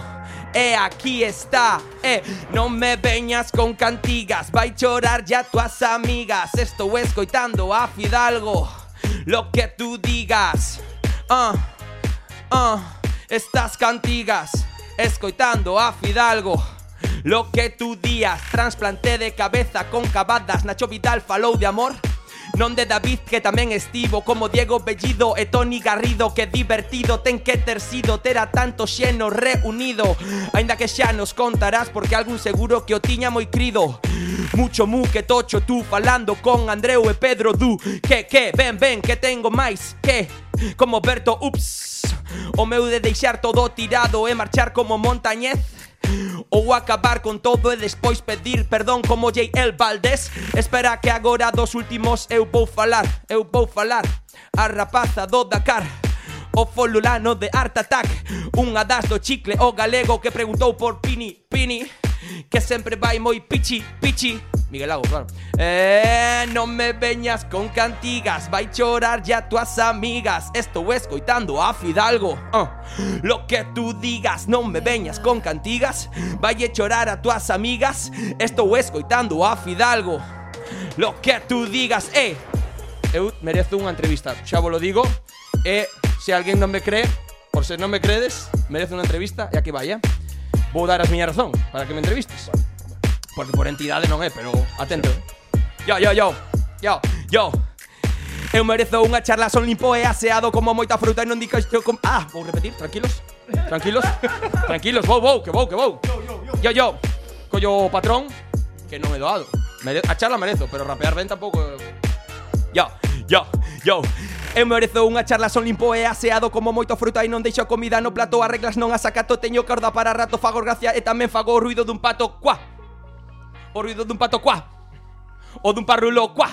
E aquí está, eh Non me veñas con cantigas Vai chorar ya tuas amigas Estou escoitando a Fidalgo Lo que tú digas Ah, ah Estas cantigas Escoitando a Fidalgo Lo que tú días transplanté de cabeza con cabadas Nacho Vidal falou de amor Non de David que tamén estivo Como Diego Bellido e Toni Garrido Que divertido ten que ter sido Tera tanto xeno reunido Ainda que xa nos contarás Porque algún seguro que o tiña moi crido Mucho mu que tocho tú falando con Andreu e Pedro Du Que, que, ven, ven, que tengo máis Que, como Berto, ups O meu de deixar todo tirado e marchar como Montañez Ou acabar con todo e despois pedir perdón como J.L. Valdés Espera que agora dos últimos eu vou falar Eu vou falar a rapaza do Dakar O folulano de Art Attack Unha das do chicle o galego que preguntou por Pini, Pini Que sempre vai moi pichi, pichi Miguel Lago, claro Eh, non me veñas con cantigas Vai chorar ya tuas amigas Estou escoitando a Fidalgo Ah, Lo que tú digas Non me veñas con cantigas Vai chorar a tuas amigas Estou escoitando a Fidalgo Lo que tú digas, eh Eu merezo unha entrevista Xa vos lo digo E se alguén non me cree Por se non me credes Merezo unha entrevista E aquí vai, eh Vou dar as miña razón Para que me entrevistes eh. Porque por entidade non é, pero atento. Yo, yo, yo. Yo, yo. Eu merezo unha charla, son limpo e aseado como moita fruta e non dico isto com... Ah, vou repetir, tranquilos, tranquilos, tranquilos, vou, vou, que vou, que vou. Yo, yo, collo o patrón, que non me doado. Mere... A charla merezo, pero rapear ben tampouco... eh, Yo, yo, yo Eu merezo unha charla, son limpo e aseado Como moito fruta e non deixo comida no plato As reglas non as acato, teño corda para rato Fago gracia e tamén fago o ruido dun pato Cuá O ruido dun pato, cuá O dun parrulo, cuá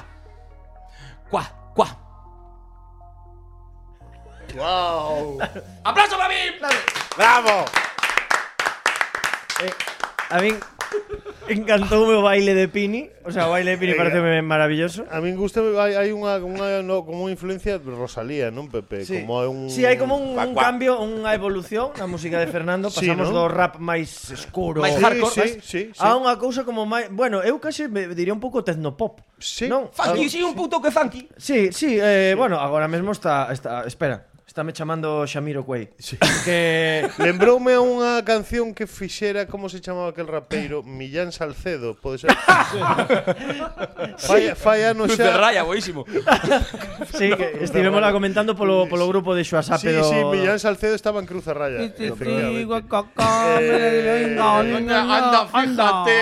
Cuá, cuá Wow Aplauso para mí
¡Bravo!
A mí encantoume o baile de Pini. O sea, o baile de Pini
Venga.
pareceme maravilloso.
A min gusta hai, hai unha, unha no, como unha influencia de Rosalía, non Pepe,
Sí.
Eh, como é un
Sí, hai como un,
Cuac,
un
cuac.
cambio, unha evolución na música de Fernando,
Sí,
pasamos do
¿no?
rap máis escuro
Máis
Sí,
hardcore,
sí, sí, sí.
a unha cousa como máis, bueno, eu case me diría un pouco tecnopop.
Sí.
Non?
Funky, si un puto que funky
Sí, sí, eh, bueno, agora mesmo está, está espera, está me chamando Xamiro Cuey. Sí. Que
Lembroume a unha canción que fixera como se chamaba aquel rapeiro Millán Salcedo, pode ser. fai, fai anos
Cruz de
xa.
raya, boísimo
sí, que estivemos comentando polo polo grupo de Xoasap
Sí,
do
sí, Millán Ah, Salcedo estaba en Cruz de Raya. efectivamente.
anda, fíjate.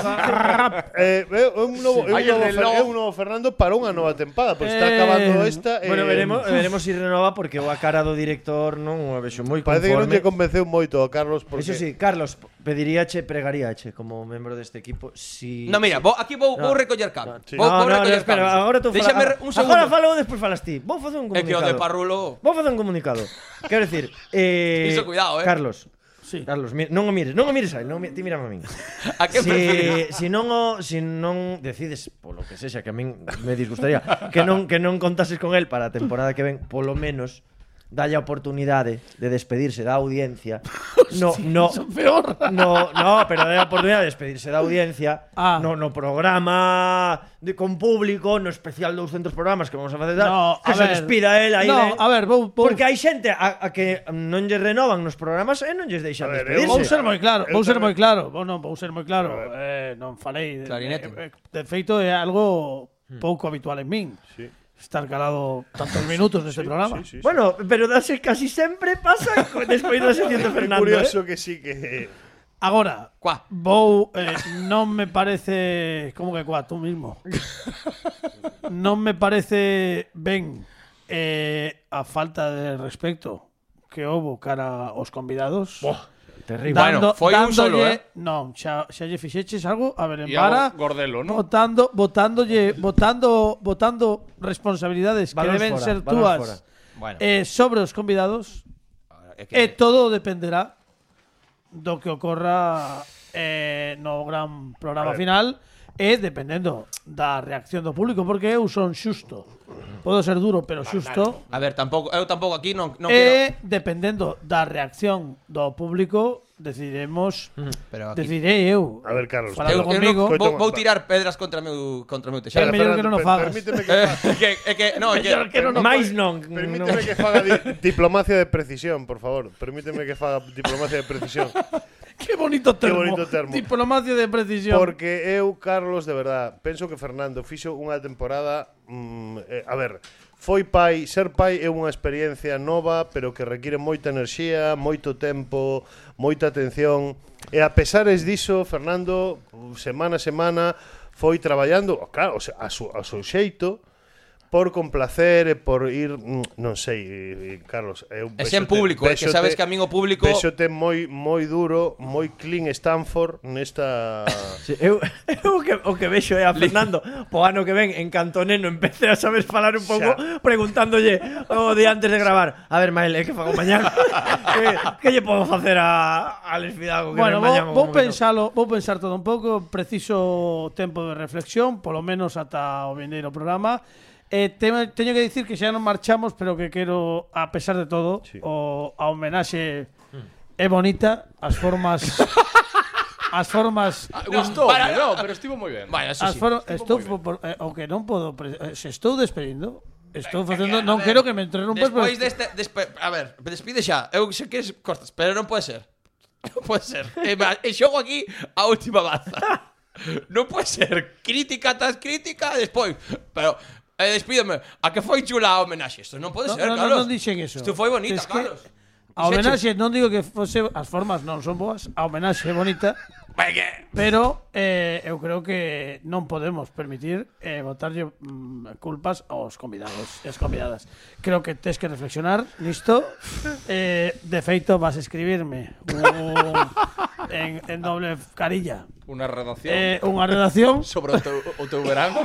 fíjate.
Eh, é un novo, é un
Hai el reloj.
novo, Fer- é un novo Fernando para unha nova tempada, pois está
Eh,
acabando esta eh,
Bueno, veremos, veremos si renova porque o a cara do director non o vexo moi
Parece que non
conforme.
lle convenceu moito a Carlos porque
Eso sí, Carlos, pediríache, pregaríache como membro deste equipo si
No, mira, vou, aquí vou,
No.
vou recoller cable
Sí.
Vou,
no, no,
vou recoller
espera,
cable
agora tú
Déxame
fala-
un
Agora
segundo
falo e despois falas ti. Vou facer un
É que o
comunicado.
de parrulo
Vou facer un comunicado. Quero decir, eh
Iso, cuidao, eh.
Carlos. Sí. Carlos, mi, non o mires, non o mires aí, non o mi- ti mírame a min.
A que
Si, si non o, si non decides polo que sexa que a min me disgustaría que non que non contases con el para a temporada que ven, polo menos dalle a oportunidade de despedirse da audiencia. No, no,
Peor.
No, no, pero da a oportunidade de despedirse da audiencia
Ah.
no, no programa de, con público, no especial 200 programas que vamos a facer tal,
No,
que
a
se
ver.
despida el aí
No,
ven.
a ver, vou- vou-
¿eh? Porque hai xente a, a que non lle renovan nos programas e non lles deixan
A ver, eu-
despedirse
Vou ser moi claro,
Eu
vou ser
tamén.
moi claro, vou non, vou ser moi claro. Eh, non falei de,
Clarinete.
eh, eh, de feito é algo pouco habitual en min.
Sí.
Estar calado tantos minutos neste programa.
Sí, sí, sí.
Bueno, pero dase casi sempre pasa co- despois da sesión de
É
Fernando.
curioso
eh.
que sí que
Agora,
Cuá.
vou eh, non me parece, como que cuá, tú mismo. non me parece ben eh, a falta de respecto que houbo cara aos convidados.
Terrible.
Bueno, foi un solo, eh.
Non, xa, xa lle fixeches algo a Belén
E ao
Vara.
Gordelo, non?
Votando, votándolle, votando, votando responsabilidades que
Balóns
deben
fora,
ser
balóns
túas
fora.
Bueno,
eh, sobre os convidados.
é
E
que...
todo dependerá do que ocorra eh, no gran programa final e dependendo da reacción do público, porque eu son xusto. Podo ser duro, pero xusto.
A ver, tampouco, eu tampouco aquí non, non quero...
E dependendo da reacción do público, decidiremos,
Pero aquí-
decidirei eu.
A ver, Carlos,
Falando
eu
comigo,
non- Eh, vou,
Coito,
vou tirar pedras contra o meu contra o meu
é
teixado.
mellor que non o
per-
fagas.
Permíteme que
Eh, que, é que non, é que
Mellor que non o
Mais non. non.
Permíteme que faga di- diplomacia de precisión, por favor. Permíteme que faga diplomacia de precisión.
Qué bonito termo.
bonito termo.
Diplomacia de precisión.
Porque eu, Carlos, de verdad, penso que Fernando fixo unha temporada... Mm, eh, a ver, foi pai, ser pai é unha experiencia nova, pero que require moita enerxía, moito tempo, moita atención. E a pesares diso, Fernando, semana a semana, foi traballando, claro, o sea, a, su, a seu xeito, por complacer e por ir, mm, non sei, eh, eh, Carlos, eu
É xa en público, é que sabes que a min o público-
Véxote moi moi duro, moi clean Stanford nesta
Sí, eu, eu o, que, o que vexo é a Fernando po ano que ven en Cantoneno empece a saber falar un pouco
Xa.
preguntándolle o de antes de gravar a ver Mael, eh, que fago mañán que, que lle podo facer a, a Les Fidalgo que
bueno,
non é mañán,
vou, vou
como que non?
pensalo, vou pensar todo un pouco, preciso tempo de reflexión, polo menos ata o vindeiro programa. Eh, te- teño que dicir que xa non marchamos, pero que quero, a pesar de todo, o, a homenaxe
Mm.
é bonita, as formas... as formas...
Gustou,
Para-
no, pero estivo moi ben.
Bueno, eso
As
sí.
formas estou, por, por, eh, o que non podo... pre- eh, se estou despedindo, estou facendo... Non quero que me interrumpas, pero
este
Despois deste este, despe, a ver, despide xa. Eu sei que es cortas, pero non pode ser. Non pode ser. E, ma- e xogo aquí a última baza. Non pode ser crítica tras crítica despois. Pero eh, despídeme. A que foi chula a homenaxe? Isto non pode
No,
ser,
no,
Carlos.
non dixen eso.
Isto foi bonita,
Es que
Carlos.
A homenaxe, non digo que fose as formas non son boas, a homenaxe é bonita,
Venga.
pero eh, eu creo que non podemos permitir eh, botarlle mm, culpas aos convidados e as convidadas. Creo que tens que reflexionar nisto. Eh, de feito, vas a escribirme un, en, en doble carilla
Unha redacción
eh, unha redacción
sobre o teu, o teu verán.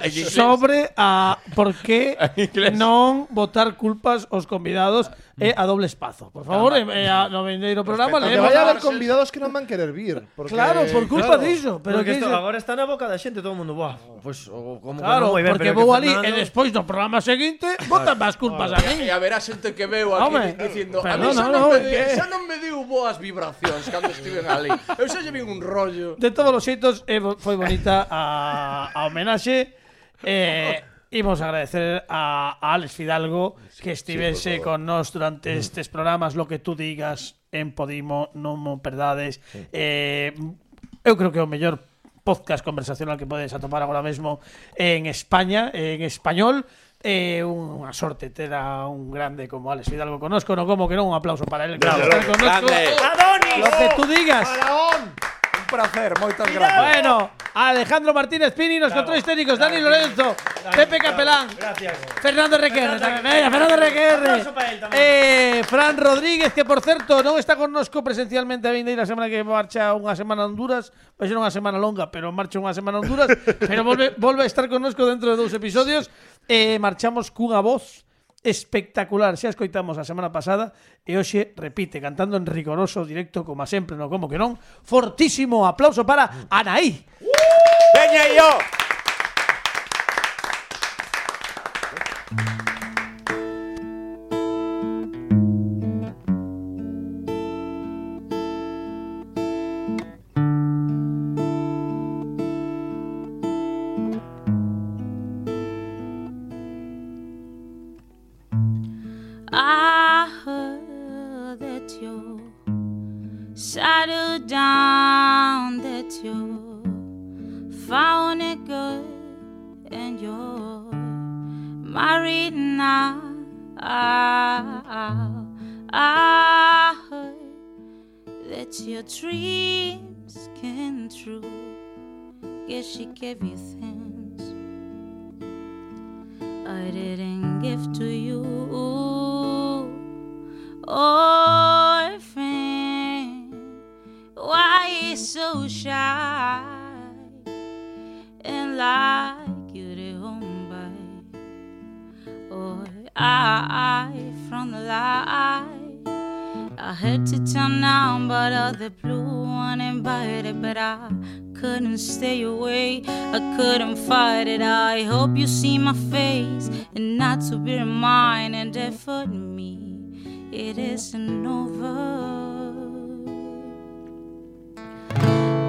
En inglés.
sobre a por que
En inglés.
non botar culpas aos convidados e a doble espazo. Por favor, e, e a, no vendeiro programa
Que
leemos
vaya a
a...
haber convidados que non van querer vir. Porque...
Claro, por culpa
Claro,
diso, pero
porque
que
isto
iso-
agora está na boca da xente todo o mundo, buah, pois o como
Claro,
que non moi ben,
porque
pero
vou
que
ali e
Fernando-
despois do programa seguinte botan máis culpas a
E
min.
a verá xente que veo aquí
Home,
dicindo A
perdón,
mí
no,
xa
eh". no,
non, me,
que-
xa non me deu boas vibracións Cando estiven ali Eu xa llevin un rollo
De todos os xeitos eh, foi bonita a, a homenaxe eh, Imos agradecer a, a Alex Fidalgo que estivese con nós durante estes programas lo que tú digas en Podimo, non mo perdades. Eh, eu creo que é o mellor podcast conversacional que podes atopar agora mesmo en España, en español. É eh, unha sorte ter a un grande como Alex Fidalgo conosco, non como que non, un aplauso para él. Claro, estar conosco.
Adonis!
Lo que tú digas.
Un placer, moitas gracias
Bueno, Alejandro Martínez Pini, los controles técnicos, Dani Lorenzo, Pepe Capelán,
Gracias.
Fernando Requerre, tamén, veña, Fernando Requerre,
Aplauso para él tamén.
eh, Fran Rodríguez, que por certo non está connosco presencialmente a vinda ir a semana que marcha unha semana a Honduras, vai ser unha semana longa, pero marcha unha semana a Honduras, pero volve, volve a estar connosco dentro de dous episodios, eh, marchamos cunha voz espectacular, xa escoitamos a semana pasada e hoxe repite cantando en rigoroso directo como sempre, non como que non fortísimo aplauso para Anaí
¡Veña yo!
I heard that you settled down, that you found a girl and you're married now. Ah, I heard ah, that your dreams came true. Guess she gave you things I didn't give to you. Oh, Orphan, why you so shy? And like you the home by or I from the light. I had to turn down, but other blue one invited, but I couldn't stay away. I couldn't fight it. I hope you see my face and not to be reminded that for me it isn't over.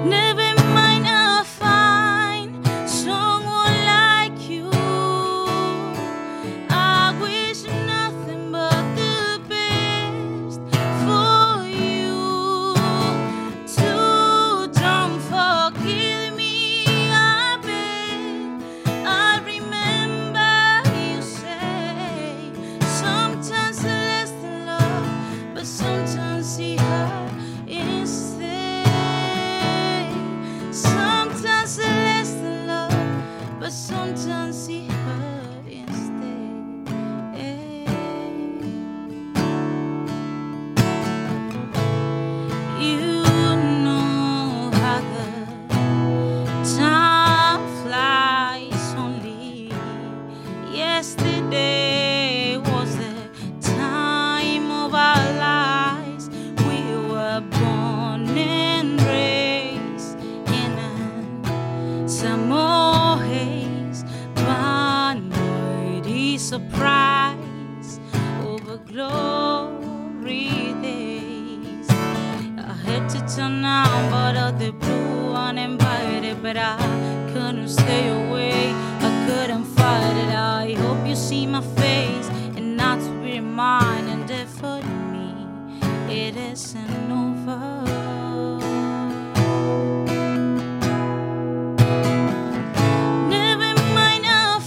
Never mind, I'll find someone like you. I wish nothing but the best for you. So don't forgive me, I beg. I remember you say sometimes less than love, but sometimes see her instead. Sometimes less than love, but sometimes see her instead. You know how the time flies. Only yesterday was the time of our lives. We were born and raised in a summer haze, but mighty surprise over glory days. I had to turn out, but other blue uninvited. But I couldn't stay away, I couldn't fight it. I hope you see my face and not to be reminded that for me it isn't over. Never mind, I'll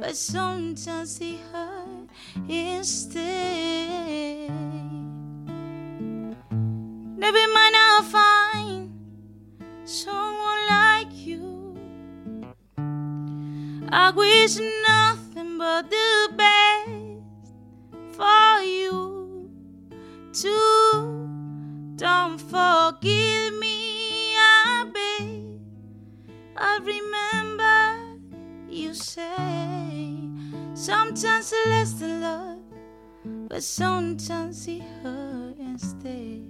but sometimes the hurt is stay. Never mind, I'll find someone like you. I wish nothing but the best for you too. Don't forgive me, I beg. I remember you say sometimes less than love, but sometimes it hurt and stay.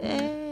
Eh.